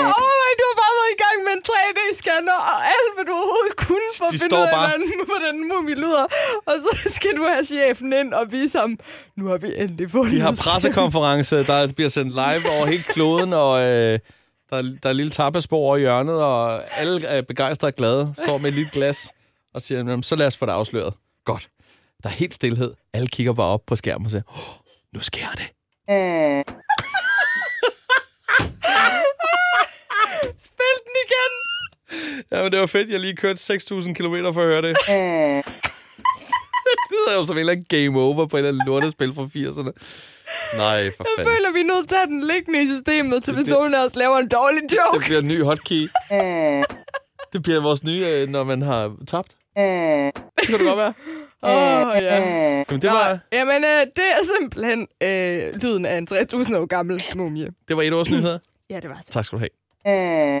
Speaker 3: oh, du har bare været i gang med en 3D-scanner, og alt, hvad du overhovedet kunne for at
Speaker 2: De
Speaker 3: finde
Speaker 2: står
Speaker 3: ud af,
Speaker 2: bare-
Speaker 3: hvordan, hvordan en mumie lyder. Og så skal du have chefen ind og vise ham, nu har vi endelig fundet
Speaker 2: De har
Speaker 3: stemmen."
Speaker 2: pressekonference, der bliver sendt live over hele kloden, og øh, der, er- der er et lille tapasbord over i hjørnet, og alle er begejstrede og glade, står med et lille glas og siger, "Jamen, så lad os få det afsløret. Godt. Der er helt stillhed. Alle kigger bare op på skærmen og siger, oh, nu sker det.
Speaker 3: Spil den igen!
Speaker 2: Ja, men det var fedt, jeg lige kørte 6.000 km for at høre det. det lyder jo som en eller anden game over på en eller anden lortespil fra 80'erne. Nej, for
Speaker 3: Jeg
Speaker 2: fanden.
Speaker 3: føler, vi er nødt til at have den liggende i systemet, til hvis
Speaker 2: bliver-
Speaker 3: nogen af os laver en dårlig
Speaker 2: Det
Speaker 3: joke.
Speaker 2: bliver en ny hotkey. Det bliver vores nye, øh, når man har tabt. Det kan det godt være.
Speaker 3: Åh, oh, ja.
Speaker 2: Jamen, det, var,
Speaker 3: Jamen, øh, det er simpelthen øh, lyden af en 3.000 år gammel mumie.
Speaker 2: det var et års nyheder.
Speaker 3: Ja, det var så.
Speaker 2: Tak skal du have.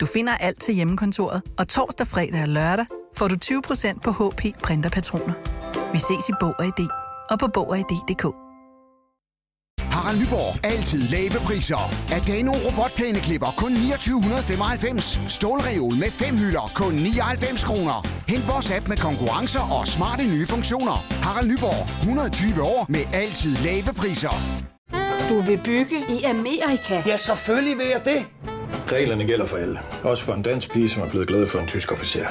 Speaker 8: Du finder alt til hjemmekontoret, og torsdag, fredag og lørdag får du 20% på HP Printerpatroner. Vi ses i Bog og ID og på Bog og ID.dk.
Speaker 9: Harald Nyborg. Altid lave priser. Adano robotplæneklipper kun 2995. Stålreol med fem hylder kun 99 kroner. Hent vores app med konkurrencer og smarte nye funktioner. Harald Nyborg. 120 år med altid lave priser.
Speaker 10: Du vil bygge i Amerika?
Speaker 9: Ja, selvfølgelig vil jeg det.
Speaker 11: Reglerne gælder for alle. Også for en dansk pige, som er blevet glad for en tysk officer.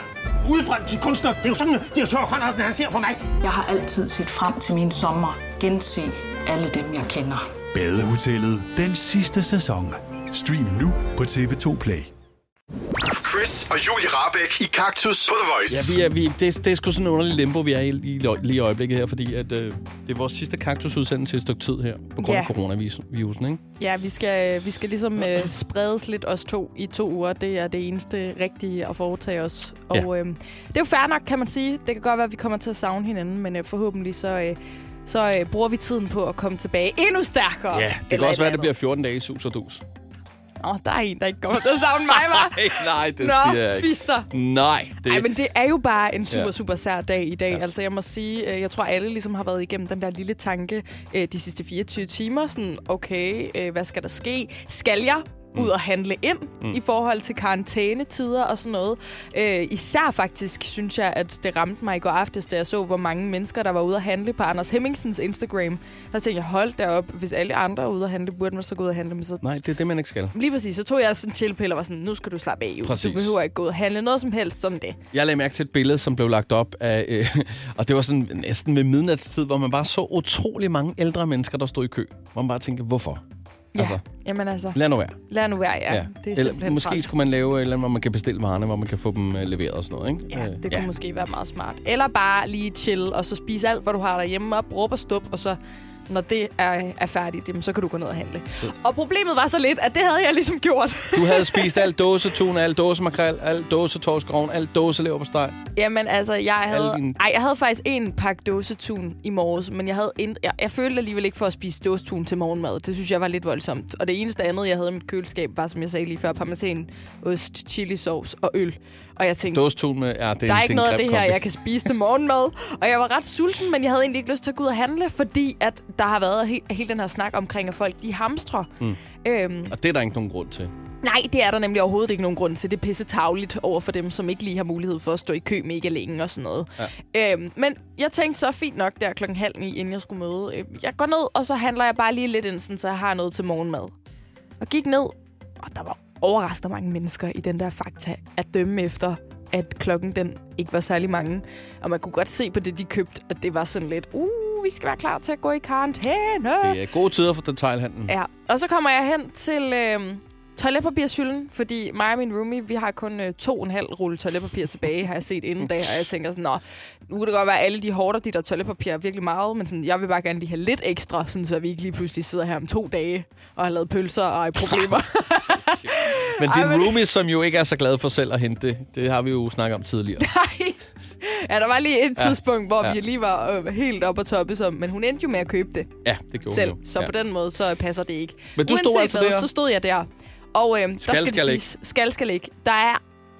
Speaker 12: Udbrændt til kunstner. Det er jo sådan, at de har tørt, han ser på mig. Jeg har altid set frem til min sommer. Gense alle dem, jeg kender.
Speaker 13: Badehotellet den sidste sæson. Stream nu på TV2 Play.
Speaker 1: Chris og Julie Rabeck i Kaktus på The Voice.
Speaker 2: Ja, vi er, vi, det, er- det er sgu sådan en underlig limbo, vi er i lige, i- lige i øjeblikket her, fordi at, øh, det er vores sidste kaktusudsendelse i et stykke tid her, på grund af
Speaker 3: Ja.
Speaker 2: coronavirusen, ikke?
Speaker 3: Ja, vi skal, vi skal ligesom øh, spredes lidt os to i to uger. Det er det eneste rigtige at foretage os. Og
Speaker 2: Ja.
Speaker 3: øh, det er jo fair nok, kan man sige. Det kan godt være, at vi kommer til at savne hinanden, men øh, forhåbentlig så, øh, så øh, bruger vi tiden på at komme tilbage endnu stærkere.
Speaker 2: Ja, det kan
Speaker 3: Eller
Speaker 2: også
Speaker 3: et
Speaker 2: være, at det bliver 14 dage i sus og dus.
Speaker 3: eller andet. Åh, der er en, der ikke kommer til at savne mig, var.
Speaker 2: Ej, nej, det
Speaker 3: Nå,
Speaker 2: siger jeg ikke.
Speaker 3: fister.
Speaker 2: Nej, det...
Speaker 3: Ej, men det er jo bare en super,
Speaker 2: Ja.
Speaker 3: super sær dag i dag. Ja. Altså, jeg må sige, øh, jeg tror, alle ligesom har været igennem den der lille tanke øh, de sidste 24 timer. Sådan, okay, øh, hvad skal der ske? Skal jeg ud og handle ind mm. i forhold til karantænetider og sådan noget. Øh, især faktisk synes jeg, at det ramte mig i går aftes, da jeg så, hvor mange mennesker, der var ude at handle på Anders Hemmingsens Instagram. Så tænkte jeg, hold da op, hvis alle andre er ude at handle, burde man så gå ud og handle. Men så
Speaker 2: Nej, det er det, man ikke skal.
Speaker 3: Lige præcis, så tog jeg sådan en chillpille og var sådan, nu skal du slappe af, Præcis.
Speaker 2: Præcis.
Speaker 3: du behøver ikke gå ud og handle noget som helst som det.
Speaker 2: Jeg lagde mærke til et billede, som blev lagt op af... Øh, og det var sådan næsten ved midnatstid, hvor man bare så utrolig mange ældre mennesker, der stod i kø. Hvor man bare tænkte, hvorfor?
Speaker 3: Ja,
Speaker 2: Altså.
Speaker 3: altså. jamen altså,
Speaker 2: Lad nu være.
Speaker 3: lad nu være, ja. ja. Det er
Speaker 2: Eller,
Speaker 3: simpelthen
Speaker 2: Måske
Speaker 3: træls.
Speaker 2: skulle man lave et eller andet, hvor man kan bestille varerne, hvor man kan få dem øh, leveret og sådan noget, ikke? Øh,
Speaker 3: Øh, Ja, det kunne ja. måske være meget smart. Eller bare lige chill, og så spise alt, hvad du har derhjemme op, råb og stup, og så når det er, er færdigt, jamen, så kan du gå ned og handle. Og problemet var så lidt, at det havde jeg ligesom gjort.
Speaker 2: Du havde spist alt dåsetun, alt dåsemakrel, alt dåsetorskroven, alt dåselever på steg.
Speaker 3: Jamen altså, jeg havde,
Speaker 2: dine-
Speaker 3: ej, jeg havde faktisk en pakke dåsetun i morges, men jeg, havde ind, jeg, jeg følte alligevel ikke for at spise dåsetun til morgenmad. Det synes jeg var lidt voldsomt. Og det eneste andet, jeg havde i mit køleskab, var, som jeg sagde lige før, parmesan, ost, chili sauce og øl. Og jeg tænkte,
Speaker 2: Dåsetun med... Ja, det,
Speaker 3: der er
Speaker 2: det
Speaker 3: ikke
Speaker 2: en
Speaker 3: noget af
Speaker 2: grim
Speaker 3: det her,
Speaker 2: kombi.
Speaker 3: jeg kan spise til morgenmad. Og jeg var ret sulten, men jeg havde egentlig ikke lyst til at gå ud og handle, fordi at der har været he- hele den her snak omkring, at folk de hamstrer. Mm. Øhm,
Speaker 2: Og det er der ikke nogen grund til.
Speaker 3: nej, det er der nemlig overhovedet ikke nogen grund til. Det er pisse tavligt over for dem, som ikke lige har mulighed for at stå i kø mega længe og sådan noget. Ja. Øhm, men jeg tænkte så fint nok der klokken halv ni, inden jeg skulle møde. Øh, jeg går ned, og så handler jeg bare lige lidt ind, sådan, så jeg har noget til morgenmad. Og gik ned, og der var overraskende mange mennesker i den der fakta at dømme efter, at klokken den ikke var særlig mange. Og man kunne godt se på det, de købte, at det var sådan lidt, uh, vi skal være klar til at gå i karantæne.
Speaker 2: Det er gode tider for detailhandlen.
Speaker 3: Ja, og så kommer jeg hen til øh, toiletpapirshylden, fordi mig og min roomie, vi har kun øh, to og en halv rulle toiletpapir tilbage, har jeg set inden dag, og jeg tænker sådan, nå, nu kan det godt være, at alle de hårder, de der toiletpapir er virkelig meget, men sådan, jeg vil bare gerne lige have lidt ekstra, sådan, så vi ikke lige pludselig sidder her om to dage og har lavet pølser og er i problemer.
Speaker 2: Men
Speaker 3: Ej,
Speaker 2: din
Speaker 3: men-
Speaker 2: roomie, som jo ikke er så glad for selv at hente det, det har vi jo snakket om tidligere.
Speaker 3: Nej. Ja, der var lige et
Speaker 2: Ja.
Speaker 3: tidspunkt, hvor
Speaker 2: Ja.
Speaker 3: vi lige var øh, helt oppe og toppe, som, men hun endte jo med at købe det.
Speaker 2: Ja, det gjorde
Speaker 3: selv.
Speaker 2: hun jo.
Speaker 3: Så
Speaker 2: ja.
Speaker 3: på den måde, så passer det ikke.
Speaker 2: Men du stod altså der?
Speaker 3: Så stod jeg der. Og øhm,
Speaker 2: Skal,
Speaker 3: skal, der skal,
Speaker 2: skal
Speaker 3: skal det siges, skal, skal ikke. Der er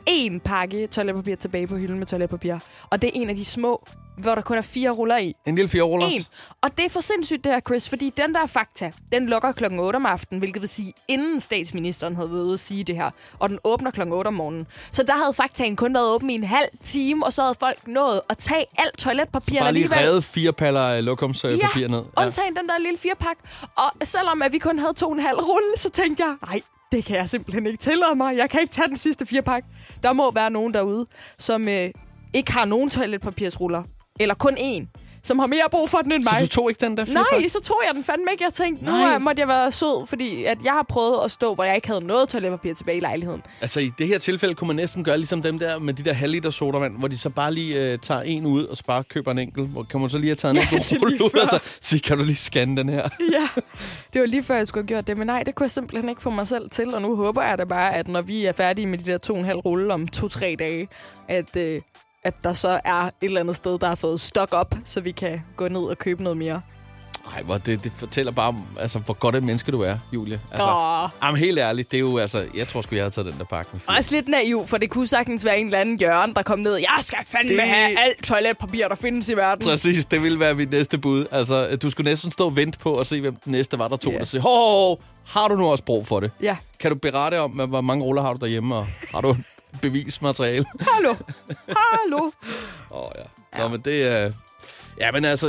Speaker 3: én pakke toiletpapir tilbage på hylden med toiletpapir. Og det er en af de små, hvor der kun er fire ruller i.
Speaker 2: En lille fjerrullers.
Speaker 3: En. Og det er for sindssygt det her, Chris, fordi den der fakta, den lukker klokken 8 om aftenen, hvilket vil sige, inden statsministeren havde været ude at sige det her. Og den åbner klokken 8 om morgenen. Så der havde faktaen kun været åben i en halv time, og så havde folk nået at tage alt toiletpapir
Speaker 2: Bare lige
Speaker 3: alligevel.
Speaker 2: revet fire paller øh, lokumspapir
Speaker 3: Ja,
Speaker 2: ned.
Speaker 3: undtagen den der lille firepak. Og selvom at vi kun havde to og en halv rulle, så tænkte jeg, nej, det kan jeg simpelthen ikke tillade mig. Jeg kan ikke tage den sidste firepak. Der må være nogen derude, som øh, ikke har nogen toiletpapirsruller. Eller kun én. som har mere brug for den end
Speaker 2: Så
Speaker 3: mig.
Speaker 2: du tog ikke den der firkant?
Speaker 3: Nej, så tog jeg den fandme ikke. Jeg tænkte, nu
Speaker 2: Nej.
Speaker 3: øh, måtte jeg være sød, fordi at jeg har prøvet at stå, hvor jeg ikke havde noget toiletpapir tilbage i lejligheden.
Speaker 2: Altså i det her tilfælde kunne man næsten gøre ligesom dem der med de der halvliter sodavand, hvor de så bare lige øh, tager en ud og så bare køber en enkelt. Hvor kan man så lige have taget en
Speaker 3: Ja,
Speaker 2: enkelt
Speaker 3: det er
Speaker 2: rulle
Speaker 3: lige
Speaker 2: ud og så
Speaker 3: før.
Speaker 2: sige, kan du lige scanne den her?
Speaker 3: ja, det var lige før, jeg skulle have gjort det, men nej, det kunne jeg simpelthen ikke få mig selv til, og nu håber jeg da bare, at når vi er færdige med de der to og en halv rulle om to-tre dage, at, øh, at der så er et eller andet sted, der har fået stok op, så vi kan gå ned og købe noget mere.
Speaker 2: Nej, hvor det, det fortæller bare om, altså, hvor godt et menneske du er, Julie. Altså,
Speaker 3: Åh.
Speaker 2: Jamen helt ærligt, det er jo altså, jeg tror sgu, jeg havde taget den der pakken.
Speaker 3: Også lidt naiv, for det kunne sagtens være en eller anden hjørne, der kom ned. Jeg skal fandme
Speaker 2: Det-
Speaker 3: det... have alt toiletpapir, der findes i verden.
Speaker 2: Præcis, det ville være mit næste bud. Altså, du skulle næsten stå og vente på og se, hvem den næste var, der tog yeah. det og sige, hov, hov, hov, har du nu også brug for det?
Speaker 3: Ja.
Speaker 2: Kan du berette om, hvor mange ruller har du derhjemme, og har du bevismateriale?
Speaker 3: Hallo. Hallo.
Speaker 2: Åh, oh, ja. Nå, men det er... Ja, men altså,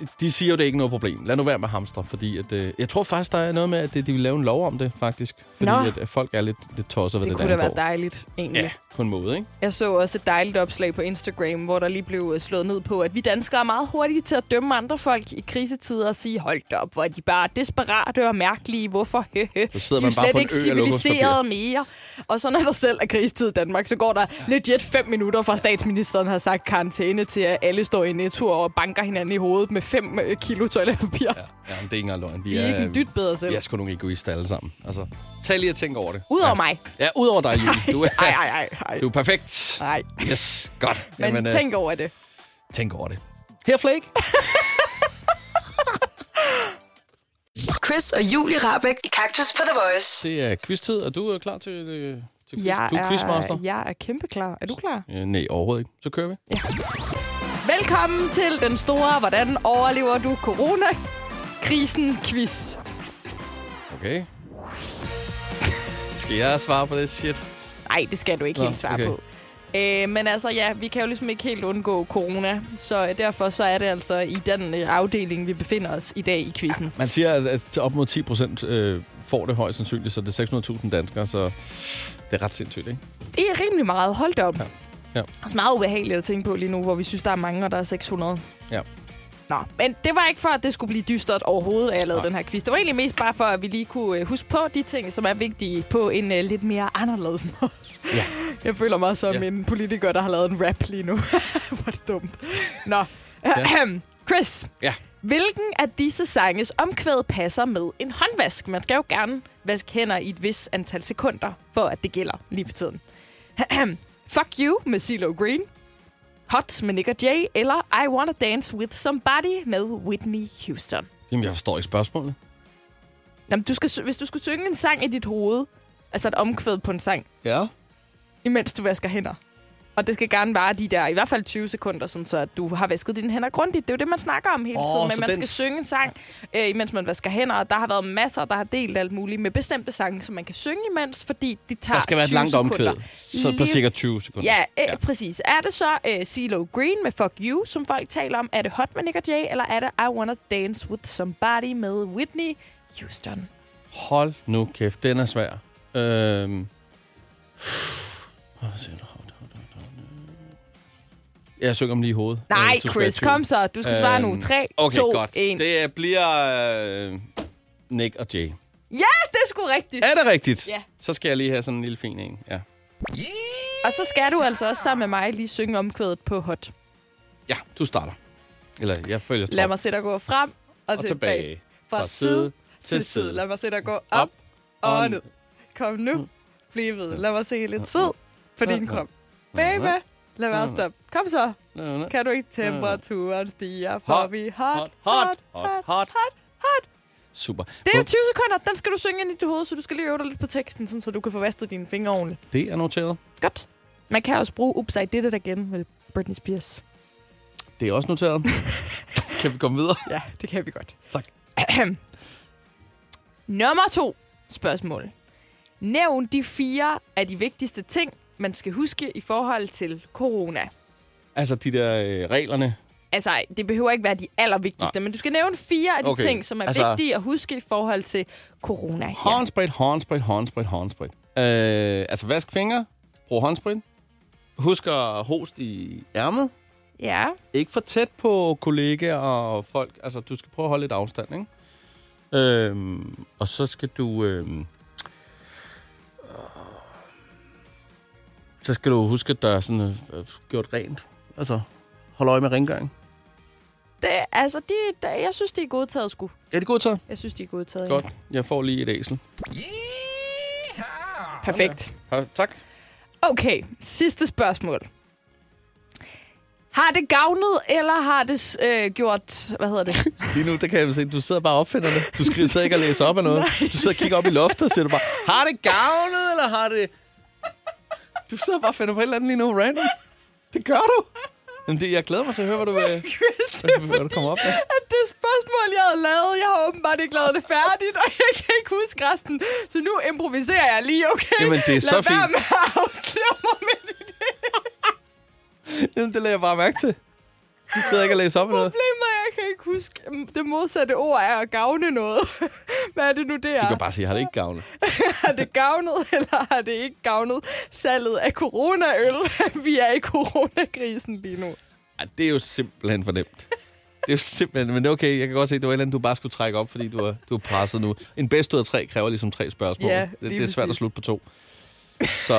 Speaker 2: de- de siger jo, det er ikke noget problem. Lad nu være med hamstre, fordi at, øh, jeg tror faktisk, der er noget med, at det- de vil lave en lov om det, faktisk. Fordi
Speaker 3: Nå.
Speaker 2: at, at folk er lidt, lidt tosset, hvad
Speaker 3: Det
Speaker 2: det,
Speaker 3: kunne da være
Speaker 2: angår.
Speaker 3: dejligt, egentlig.
Speaker 2: Ja, på en måde, ikke?
Speaker 3: Jeg så også et dejligt opslag på Instagram, hvor der lige blev øh, slået ned på, at vi danskere er meget hurtige til at dømme andre folk i krisetider og sige, hold da op, hvor er de bare desperate og mærkelige, hvorfor? Hø, hø.
Speaker 2: Så sidder
Speaker 3: de er
Speaker 2: man
Speaker 3: jo
Speaker 2: bare
Speaker 3: slet
Speaker 2: på en
Speaker 3: ikke
Speaker 2: ø og lukker
Speaker 3: civiliserede mere. Og så når der selv er krigstid i Danmark, så går der legit fem minutter fra statsministeren har sagt karantæne til, at alle står i netto og banker hinanden i hovedet med fem øh, kilo toiletpapir.
Speaker 2: Ja,
Speaker 3: Ja.
Speaker 2: men det er ikke engang løgn.
Speaker 3: Vi er ikke en dyt bedre selv.
Speaker 2: Vi er sgu nogle egoister alle sammen. Altså, tag lige og tænk over det.
Speaker 3: Udover
Speaker 2: ja.
Speaker 3: mig.
Speaker 2: Ja, udover dig, Julie. Du er,
Speaker 3: Ej, ej, ej, ej.
Speaker 2: Du er perfekt.
Speaker 3: Nej.
Speaker 2: Yes, godt.
Speaker 3: Men Jamen,
Speaker 2: øh,
Speaker 3: tænk over det.
Speaker 2: tænk over det. Her Flake.
Speaker 4: Chris og Julie Rabeck i Kaktus på The Voice.
Speaker 2: Det er quiztid, og du er klar til, øh, til quiz.
Speaker 3: Jeg
Speaker 2: du er quizmaster.
Speaker 3: er, jeg er kæmpe klar. Er du klar?
Speaker 2: Øh, nej, overhovedet ikke. Så kører vi.
Speaker 3: Velkommen til den store Hvordan overlever du corona-krisen quiz.
Speaker 2: Okay. Skal jeg svare på det shit?
Speaker 3: Nej, det skal du ikke
Speaker 2: Nå,
Speaker 3: helt svare
Speaker 2: okay.
Speaker 3: okay. på. Øh, men altså ja, vi kan jo ligesom ikke helt undgå corona, så øh, derfor så er det altså i den øh, afdeling, vi befinder os i dag i quizzen.
Speaker 2: Man siger, at- at op mod 10 procent øh, får det højst sandsynligt, så det er 600.000 danskere, så det er ret sindssygt, ikke?
Speaker 3: Det er rimelig meget, hold da op. Ja.
Speaker 2: Ja.
Speaker 3: Også meget ubehageligt at tænke på lige nu, hvor vi synes, der er mange, og der er 600.
Speaker 2: ja.
Speaker 3: Nå, men det var ikke for, at det skulle blive dystert overhovedet, at jeg lavede den her quiz. Det var egentlig mest bare for, at vi lige kunne øh, huske på de ting, som er vigtige på en øh, lidt mere anderledes måde.
Speaker 2: Ja.
Speaker 3: Jeg føler mig som ja. en politiker, der har lavet en rap lige nu. Hvor er det dumt. Nå,
Speaker 2: Ja.
Speaker 3: Chris.
Speaker 2: Ja.
Speaker 3: Hvilken af disse sanges omkvæd passer med en håndvask? Man skal jo gerne vaske hænder i et vis antal sekunder, for at det gælder lige for tiden. Fuck You med CeeLo Green. Hot med Nick og Jay, eller I Wanna Dance With Somebody med Whitney Houston.
Speaker 2: Jamen, jeg forstår ikke spørgsmålet.
Speaker 3: Jamen, du skal, sy- hvis du skulle synge en sang i dit hoved, altså et omkvæd på en sang,
Speaker 2: Ja.
Speaker 3: imens du vasker hænder, og det skal gerne vare de der, i hvert fald 20 sekunder, sådan så at du har vasket dine hænder grundigt. Det er jo det, man snakker om hele
Speaker 14: Åh,
Speaker 3: tiden,
Speaker 14: så
Speaker 3: men man
Speaker 14: den
Speaker 3: skal
Speaker 14: s-
Speaker 3: synge en sang, øh, imens man vasker hænder, og der har været masser, der har delt alt muligt med bestemte sange, som man kan synge imens, fordi de tager
Speaker 2: Der skal være et
Speaker 3: 20
Speaker 2: langt
Speaker 3: sekunder.
Speaker 2: omkvæd, så på
Speaker 3: Lige-
Speaker 2: cirka 20 sekunder.
Speaker 3: Ja, øh, ja, præcis. Er det så øh, CeeLo Green med Fuck You, som folk taler om? Er det Hot med Nick og Jay, eller er det I Wanna Dance With Somebody med Whitney Houston?
Speaker 2: Hold nu kæft, den er svær. Øhm. Hvad siger du? Hot, hot, hot, hot. Jeg synger om lige i hovedet.
Speaker 3: Nej,
Speaker 2: Øh, du skal
Speaker 3: Chris,
Speaker 2: være i tvivl.
Speaker 3: kom så. Du skal svare nu. Tre,
Speaker 2: Øhm, okay,
Speaker 3: to,
Speaker 2: godt.
Speaker 3: en.
Speaker 2: Det bliver øh, Nick og Jay.
Speaker 3: Ja, det er sgu rigtigt.
Speaker 2: Er det rigtigt?
Speaker 3: Ja.
Speaker 2: Så skal jeg lige have sådan en lille fin en. Ja.
Speaker 3: Og så skal du altså også sammen med mig lige synge omkvædet på Hot.
Speaker 2: ja, du starter. Eller jeg følger
Speaker 3: Lad
Speaker 2: trop.
Speaker 3: mig se dig gå frem og,
Speaker 2: Og tilbage.
Speaker 3: Fra, side til side. Lad mig se dig gå op og ned. Kom nu. Bliv ved. Lad mig se lidt tid på din krop. Baby, lad være stoppe. Kom så. Kan du ikke temperaturen stiger, for
Speaker 2: Hot,
Speaker 3: vi hot,
Speaker 2: hot, hot, hot.
Speaker 3: hot.
Speaker 2: Super.
Speaker 3: Det er jo 20 sekunder. Den skal du synge ind i dit hoved, så du skal lige øve dig lidt på teksten, sådan, så du kan få vasket dine fingre ordentligt.
Speaker 2: Det er noteret.
Speaker 3: Godt. Man kan også bruge Oops, I did it again med Britney Spears.
Speaker 2: Det er også noteret. kan vi komme videre?
Speaker 3: Ja, det kan vi godt.
Speaker 2: Tak.
Speaker 3: Nummer to spørgsmål. Nævn de fire af de vigtigste ting, man skal huske i forhold til corona.
Speaker 2: Altså de der øh, reglerne.
Speaker 3: Altså, det behøver ikke være de allervigtigste,
Speaker 2: Nej.
Speaker 3: men du skal nævne fire af de
Speaker 2: Okay.
Speaker 3: okay. ting, som er
Speaker 2: Altså-
Speaker 3: altså... vigtige at huske i forhold til corona. her.
Speaker 2: Håndsprit, håndsprit, håndsprit, håndsprit. Øh, altså vask fingre, brug håndsprit. Husk at hoste i ærmet.
Speaker 3: Ja.
Speaker 2: Ikke for tæt på kollegaer og folk. Altså, du skal prøve at holde lidt afstand, ikke? Øhm, og så skal du... Øhm, øh, så skal du huske, at der er sådan, øh, øh, gjort rent. Altså, hold øje med rengøring.
Speaker 3: Det, altså, de, der, jeg synes, de er gode taget, sgu.
Speaker 2: Er det godtaget?
Speaker 3: Jeg synes, de er gode taget.
Speaker 2: Godt. Jeg får lige et æsel.
Speaker 3: Ja. Perfekt.
Speaker 2: Ja, tak.
Speaker 3: Okay, sidste spørgsmål. Har det gavnet, eller har det øh, gjort... Hvad hedder det?
Speaker 2: Lige nu, der kan jeg se, du sidder bare og opfinder det. Du skriver sidder ikke og læser op af noget.
Speaker 3: Nej.
Speaker 2: Du sidder og kigger op i loftet og siger du bare, har det gavnet, eller har det... Du sidder bare og finder på et eller andet lige nu, random. Det gør du. Jamen, det, jeg glæder mig til at høre, hvad du, vil,
Speaker 3: Chris, det er
Speaker 2: hvad du kommer op med.
Speaker 3: at det spørgsmål, jeg havde lavet, jeg har åbenbart ikke lavet det færdigt, og jeg kan ikke huske resten. Så nu improviserer jeg lige, okay?
Speaker 2: Jamen, det er
Speaker 3: Lad
Speaker 2: så
Speaker 3: være
Speaker 2: fint.
Speaker 3: med at afsløre mig med det.
Speaker 2: Jamen, det lader jeg bare mærke til. Du sidder ikke og læser op af noget.
Speaker 3: Problemet er, jeg kan ikke huske. mm, Det modsatte ord er at gavne noget. Hvad er det nu, det er?
Speaker 2: Du kan bare sige, har det ikke gavnet?
Speaker 3: Har det gavnet, eller har det ikke gavnet salget af coronaøl? Vi er i coronakrisen lige nu.
Speaker 2: Ej, det er jo simpelthen for nemt. Det er jo simpelthen, men det er okay. Jeg kan godt se, at det var et eller andet, du bare skulle trække op, fordi du er, du er presset nu. En bedst ud af tre kræver ligesom tre spørgsmål.
Speaker 3: Ja,
Speaker 2: det,
Speaker 3: lige
Speaker 2: det er svært at
Speaker 3: præcis.
Speaker 2: slutte på to. Så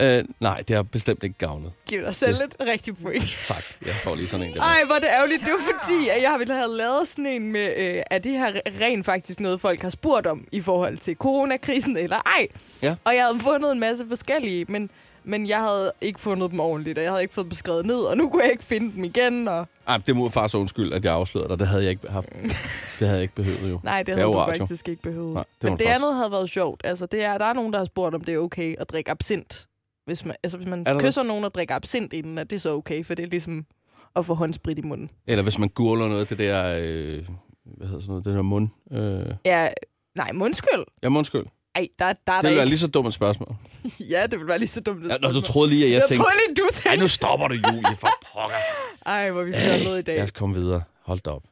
Speaker 2: øh, nej, det har bestemt ikke gavnet.
Speaker 3: Giv dig selv
Speaker 2: Det-
Speaker 3: et rigtigt point.
Speaker 2: Tak, jeg får lige sådan en der.
Speaker 3: Ej, hvor er det ærgerligt. Det er jo fordi, at jeg ville have lavet sådan en med, øh, er det her rent faktisk noget, folk har spurgt om i forhold til coronakrisen eller ej?
Speaker 2: Ja.
Speaker 3: Og jeg havde fundet en masse forskellige, men, men jeg havde ikke fundet dem ordentligt, og jeg havde ikke fået dem skrevet ned, og nu kunne jeg ikke finde dem igen. Og...
Speaker 2: Ej, det må far så undskyld, at jeg afslørede dig. Det havde jeg ikke haft. Det havde jeg ikke behøvet jo.
Speaker 3: Nej, det
Speaker 2: er
Speaker 3: havde
Speaker 2: jo
Speaker 3: du
Speaker 2: radio.
Speaker 3: faktisk ikke behøvet.
Speaker 2: Nej, det var
Speaker 3: men det
Speaker 2: faktisk-
Speaker 3: andet havde været sjovt. Altså, det er, der er nogen, der har spurgt, om det er okay at drikke absint. Hvis man, altså, hvis man
Speaker 2: Er der det?
Speaker 3: kysser nogen og drikker absint inden, er det så okay, for det er ligesom at få håndsprit i munden.
Speaker 2: Eller hvis man gurler noget af det der... Øh, hvad hedder sådan noget? Det der mund... Øh,
Speaker 3: Ja, nej, mundskyld.
Speaker 2: ja, mundskyld.
Speaker 3: Ej, der, der er
Speaker 2: Det
Speaker 3: der
Speaker 2: ville
Speaker 3: ikke.
Speaker 2: være lige så dumt et spørgsmål.
Speaker 3: Ja, det ville være lige så dumt.
Speaker 2: Ja, nå, du troede lige, at jeg
Speaker 3: jeg
Speaker 2: tænkte-
Speaker 3: Jeg troede lige, du
Speaker 2: Ej,
Speaker 3: tænkte.
Speaker 2: nu stopper du, Julie, for pokker.
Speaker 3: Ej, hvor vi fjollede i dag.
Speaker 2: Lad os komme videre. Hold da op.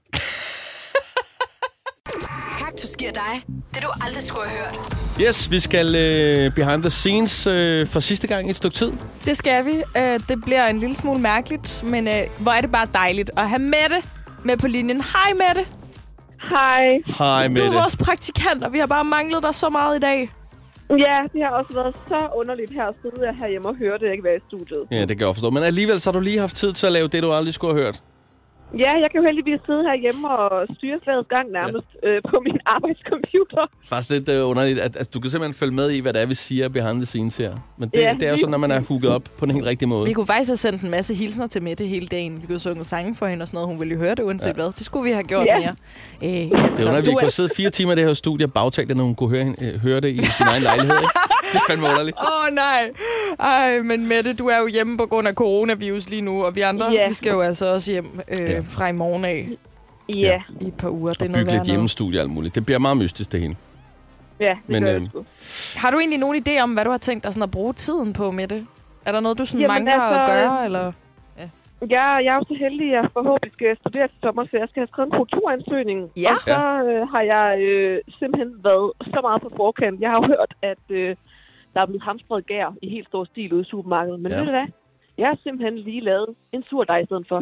Speaker 4: Kaktus giver dig det, du aldrig skulle have hørt.
Speaker 2: Yes, vi skal øh, behind the scenes øh, for sidste gang i et stykke tid.
Speaker 3: Det skal vi. Øh, det bliver en lille smule mærkeligt, men øh, hvor er det bare dejligt at have Mette med på linjen. Hej, Mette.
Speaker 14: Hej.
Speaker 2: Hej,
Speaker 3: Du
Speaker 2: Mette.
Speaker 3: er vores praktikant, og vi har bare manglet dig så meget i dag.
Speaker 14: Ja, det har også været så underligt her at sidde herhjemme og høre det, ikke være i studiet.
Speaker 2: Ja, det kan jeg forstå. Men alligevel så har du lige haft tid til at lave det, du aldrig skulle have hørt.
Speaker 14: Ja, jeg kan jo heldigvis sidde herhjemme og styre slagets gang nærmest ja. øh, på min arbejdscomputer.
Speaker 2: Faktisk lidt øh, underligt, at, at du kan simpelthen følge med i, hvad det er, vi siger behind the scenes her. Men det,
Speaker 3: Ja,
Speaker 2: det er jo
Speaker 3: lige
Speaker 2: sådan, når man er hooket op på den helt rigtige måde.
Speaker 3: Vi kunne faktisk have sendt en masse hilsner til Mette hele dagen. Vi kunne synge sange for hende og sådan noget. Hun ville jo høre det uanset ja. hvad. Det skulle vi have gjort
Speaker 14: Ja.
Speaker 3: mere. Øh, det
Speaker 2: Det er underligt, vi kunne sidde fire timer i det her studie og bagtale det, når hun kunne høre, hende- øh, høre det i sin egen lejlighed. ikke? Det er fandme underligt.
Speaker 3: Åh oh, nej. Ej, men Mette, du er jo hjemme på grund af coronavirus lige nu, og vi andre,
Speaker 14: Ja.
Speaker 3: vi skal jo altså også hjem øh,
Speaker 2: Ja.
Speaker 3: fra i morgen af.
Speaker 14: Ja.
Speaker 3: I et par uger. Det er noget
Speaker 2: Bygge
Speaker 3: værre
Speaker 2: lidt
Speaker 3: noget.
Speaker 2: hjemmestudie og alt muligt. Det bliver meget mystisk, det hele.
Speaker 14: Ja,
Speaker 2: Men, gør det øhm,
Speaker 3: Har du egentlig nogen idé om, hvad du har tænkt dig sådan at bruge tiden på, Mette? Er der noget, du sådan
Speaker 14: Jamen,
Speaker 3: mangler altså... at
Speaker 14: altså,
Speaker 3: gøre, eller?
Speaker 14: Ja, jeg er jo så heldig, at jeg forhåbentlig skal studere til sommer, så jeg skal have skrevet en kulturansøgning.
Speaker 3: Ja.
Speaker 14: Og så øh, har jeg øh, simpelthen været så meget på forkant. Jeg har jo hørt, at øh, der er blevet hamstret gær i helt stor stil ude i supermarkedet. Men
Speaker 3: Ja.
Speaker 14: ja. ved du hvad? Jeg har simpelthen lige lavet en surdej i stedet for.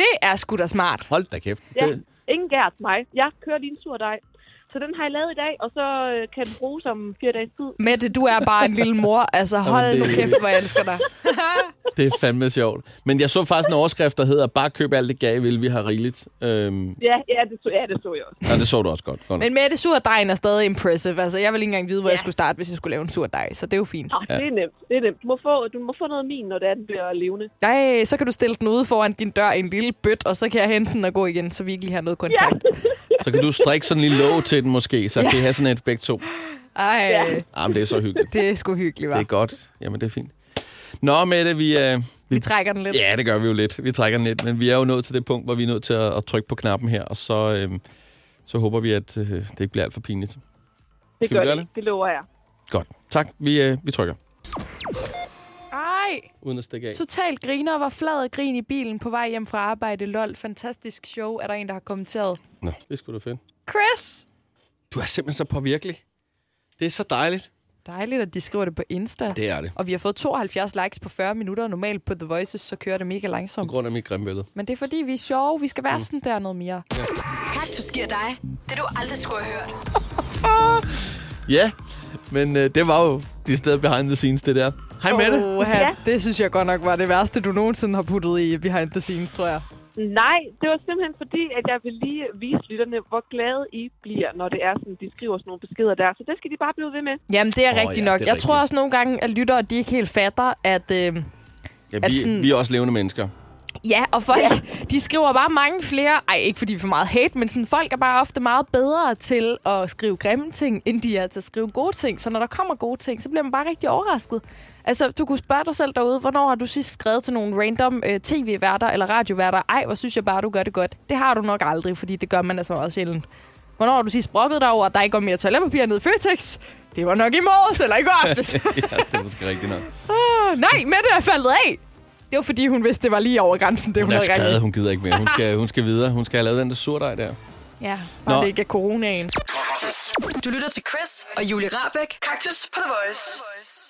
Speaker 3: Det er sgu da smart.
Speaker 2: Hold da kæft.
Speaker 14: Ja, det... ingen gær til mig. Jeg kører lige en surdej. Så den har jeg lavet i dag, og så øh, kan den bruges om fire dages tid.
Speaker 3: Mette, du er bare en lille mor. Altså,
Speaker 2: Jamen,
Speaker 3: hold nu
Speaker 2: det-
Speaker 3: kæft, hvor jeg elsker dig.
Speaker 2: Det er fandme sjovt. Men jeg så faktisk en overskrift, der hedder, bare køb alt det gave, vil vi har rigeligt. Øhm,
Speaker 14: Ja, ja, det så, ja, det så jeg også.
Speaker 2: og det så du også godt. godt.
Speaker 3: Men Mette, surdejen er stadig impressive. Altså, jeg vil ikke engang vide, hvor ja. jeg skulle starte, hvis jeg skulle lave en surdej. Så det er jo fint.
Speaker 14: Ja. Ah, Det er nemt, det er nemt. Du må få, du må få noget min, når det er, den bliver levende.
Speaker 3: Nej, så kan du stille den ude foran din dør i en lille bøt, og så kan jeg hente den og gå igen, så vi ikke lige har noget kontakt. Ja.
Speaker 2: Så kan du strikke sådan en lille låg til den måske, så
Speaker 3: Ja.
Speaker 2: ja. det er sådan et begge to.
Speaker 3: Ej, ja.
Speaker 2: Ah, men det er så hyggeligt.
Speaker 3: det er sgu hyggeligt,
Speaker 2: Det er
Speaker 3: var.
Speaker 2: godt. Jamen, det er fint. Nå, Mette, vi... Øh, vi, vi
Speaker 3: trækker den lidt.
Speaker 2: Ja, det gør vi jo lidt. Vi trækker den lidt, men vi er jo nået til det punkt, hvor vi er nødt til at, at trykke på knappen her, og så, øh, så håber vi, at øh, det ikke bliver alt for pinligt.
Speaker 14: Det
Speaker 2: Skal vi
Speaker 14: gør
Speaker 2: gøre
Speaker 14: det, det lover jeg.
Speaker 2: Godt. Tak. Vi, øh, vi trykker.
Speaker 3: Ej,
Speaker 2: Uden at stikke af.
Speaker 3: totalt griner var flad og grin i bilen på vej hjem fra arbejde. Lol, fantastisk show, er der en, der har kommenteret.
Speaker 2: Nå, det skulle du finde.
Speaker 3: Chris!
Speaker 2: Du er simpelthen så påvirkelig. Det er så dejligt.
Speaker 3: Dejligt, at de skriver det på Insta.
Speaker 2: Det er det.
Speaker 3: Og vi har fået 72 likes på 40 minutter. Normalt på The Voices, så kører det mega
Speaker 2: På
Speaker 3: langsomt.
Speaker 2: grund af mit grimme billede.
Speaker 3: Men det er fordi, vi er sjove. Vi skal være
Speaker 2: Mm.
Speaker 3: sådan der noget mere.
Speaker 2: Ja.
Speaker 4: Kaktus giver dig det, du aldrig skulle have hørt.
Speaker 2: Ja, men øh, det var jo de steder behind the scenes, det der. Hej med det.
Speaker 3: Oha, ja. det synes jeg godt nok var det værste, du nogensinde har puttet i behind the scenes, tror jeg.
Speaker 14: Nej, det var simpelthen fordi, at jeg vil lige vise lytterne, hvor glade I bliver, når det er sådan, de skriver sådan nogle beskeder der. Så det skal de bare blive ved med.
Speaker 3: Jamen, det er
Speaker 2: Åh,
Speaker 3: oh,
Speaker 2: ja,
Speaker 3: rigtigt
Speaker 2: det
Speaker 3: ja,
Speaker 2: er
Speaker 3: nok. Jeg
Speaker 2: rigtigt.
Speaker 3: tror også nogle gange, at lyttere de ikke helt fatter, at... Øh,
Speaker 2: Ja,
Speaker 3: at
Speaker 2: vi,
Speaker 3: sådan-
Speaker 2: vi er også levende mennesker.
Speaker 3: Ja, og folk, ja. de skriver bare mange flere. Ej, ikke fordi vi er for meget hate, men sådan, folk er bare ofte meget bedre til at skrive grimme ting, end de er til at skrive gode ting. Så når der kommer gode ting, så bliver man bare rigtig overrasket. Altså, du kunne spørge dig selv derude, hvornår har du sidst skrevet til nogle random øh, tv-værter eller radioværter? Ej, hvor synes jeg bare, du gør det godt. Det har du nok aldrig, fordi det gør man altså også sjældent. Hvornår har du sidst brokket dig over, at der ikke var mere toiletpapir ned i Føtex? Det var nok i morges eller i går aftes.
Speaker 2: ja, det er måske rigtigt nok.
Speaker 3: Ah, nej, Mette er faldet af. Det var, fordi hun vidste, det var lige over grænsen, det
Speaker 2: Hun
Speaker 3: hun,
Speaker 2: er
Speaker 3: havde ringet.
Speaker 2: skrevet, hun gider ikke mere. Hun skal, hun skal videre. Hun skal have lavet den der surdej der.
Speaker 3: Ja,
Speaker 2: bare
Speaker 3: bare
Speaker 2: Nå.
Speaker 3: Nå.
Speaker 2: det
Speaker 3: det ikke er coronaen.
Speaker 4: Du lytter til Chris og Julie Rabeck. Kaktus på The Voice.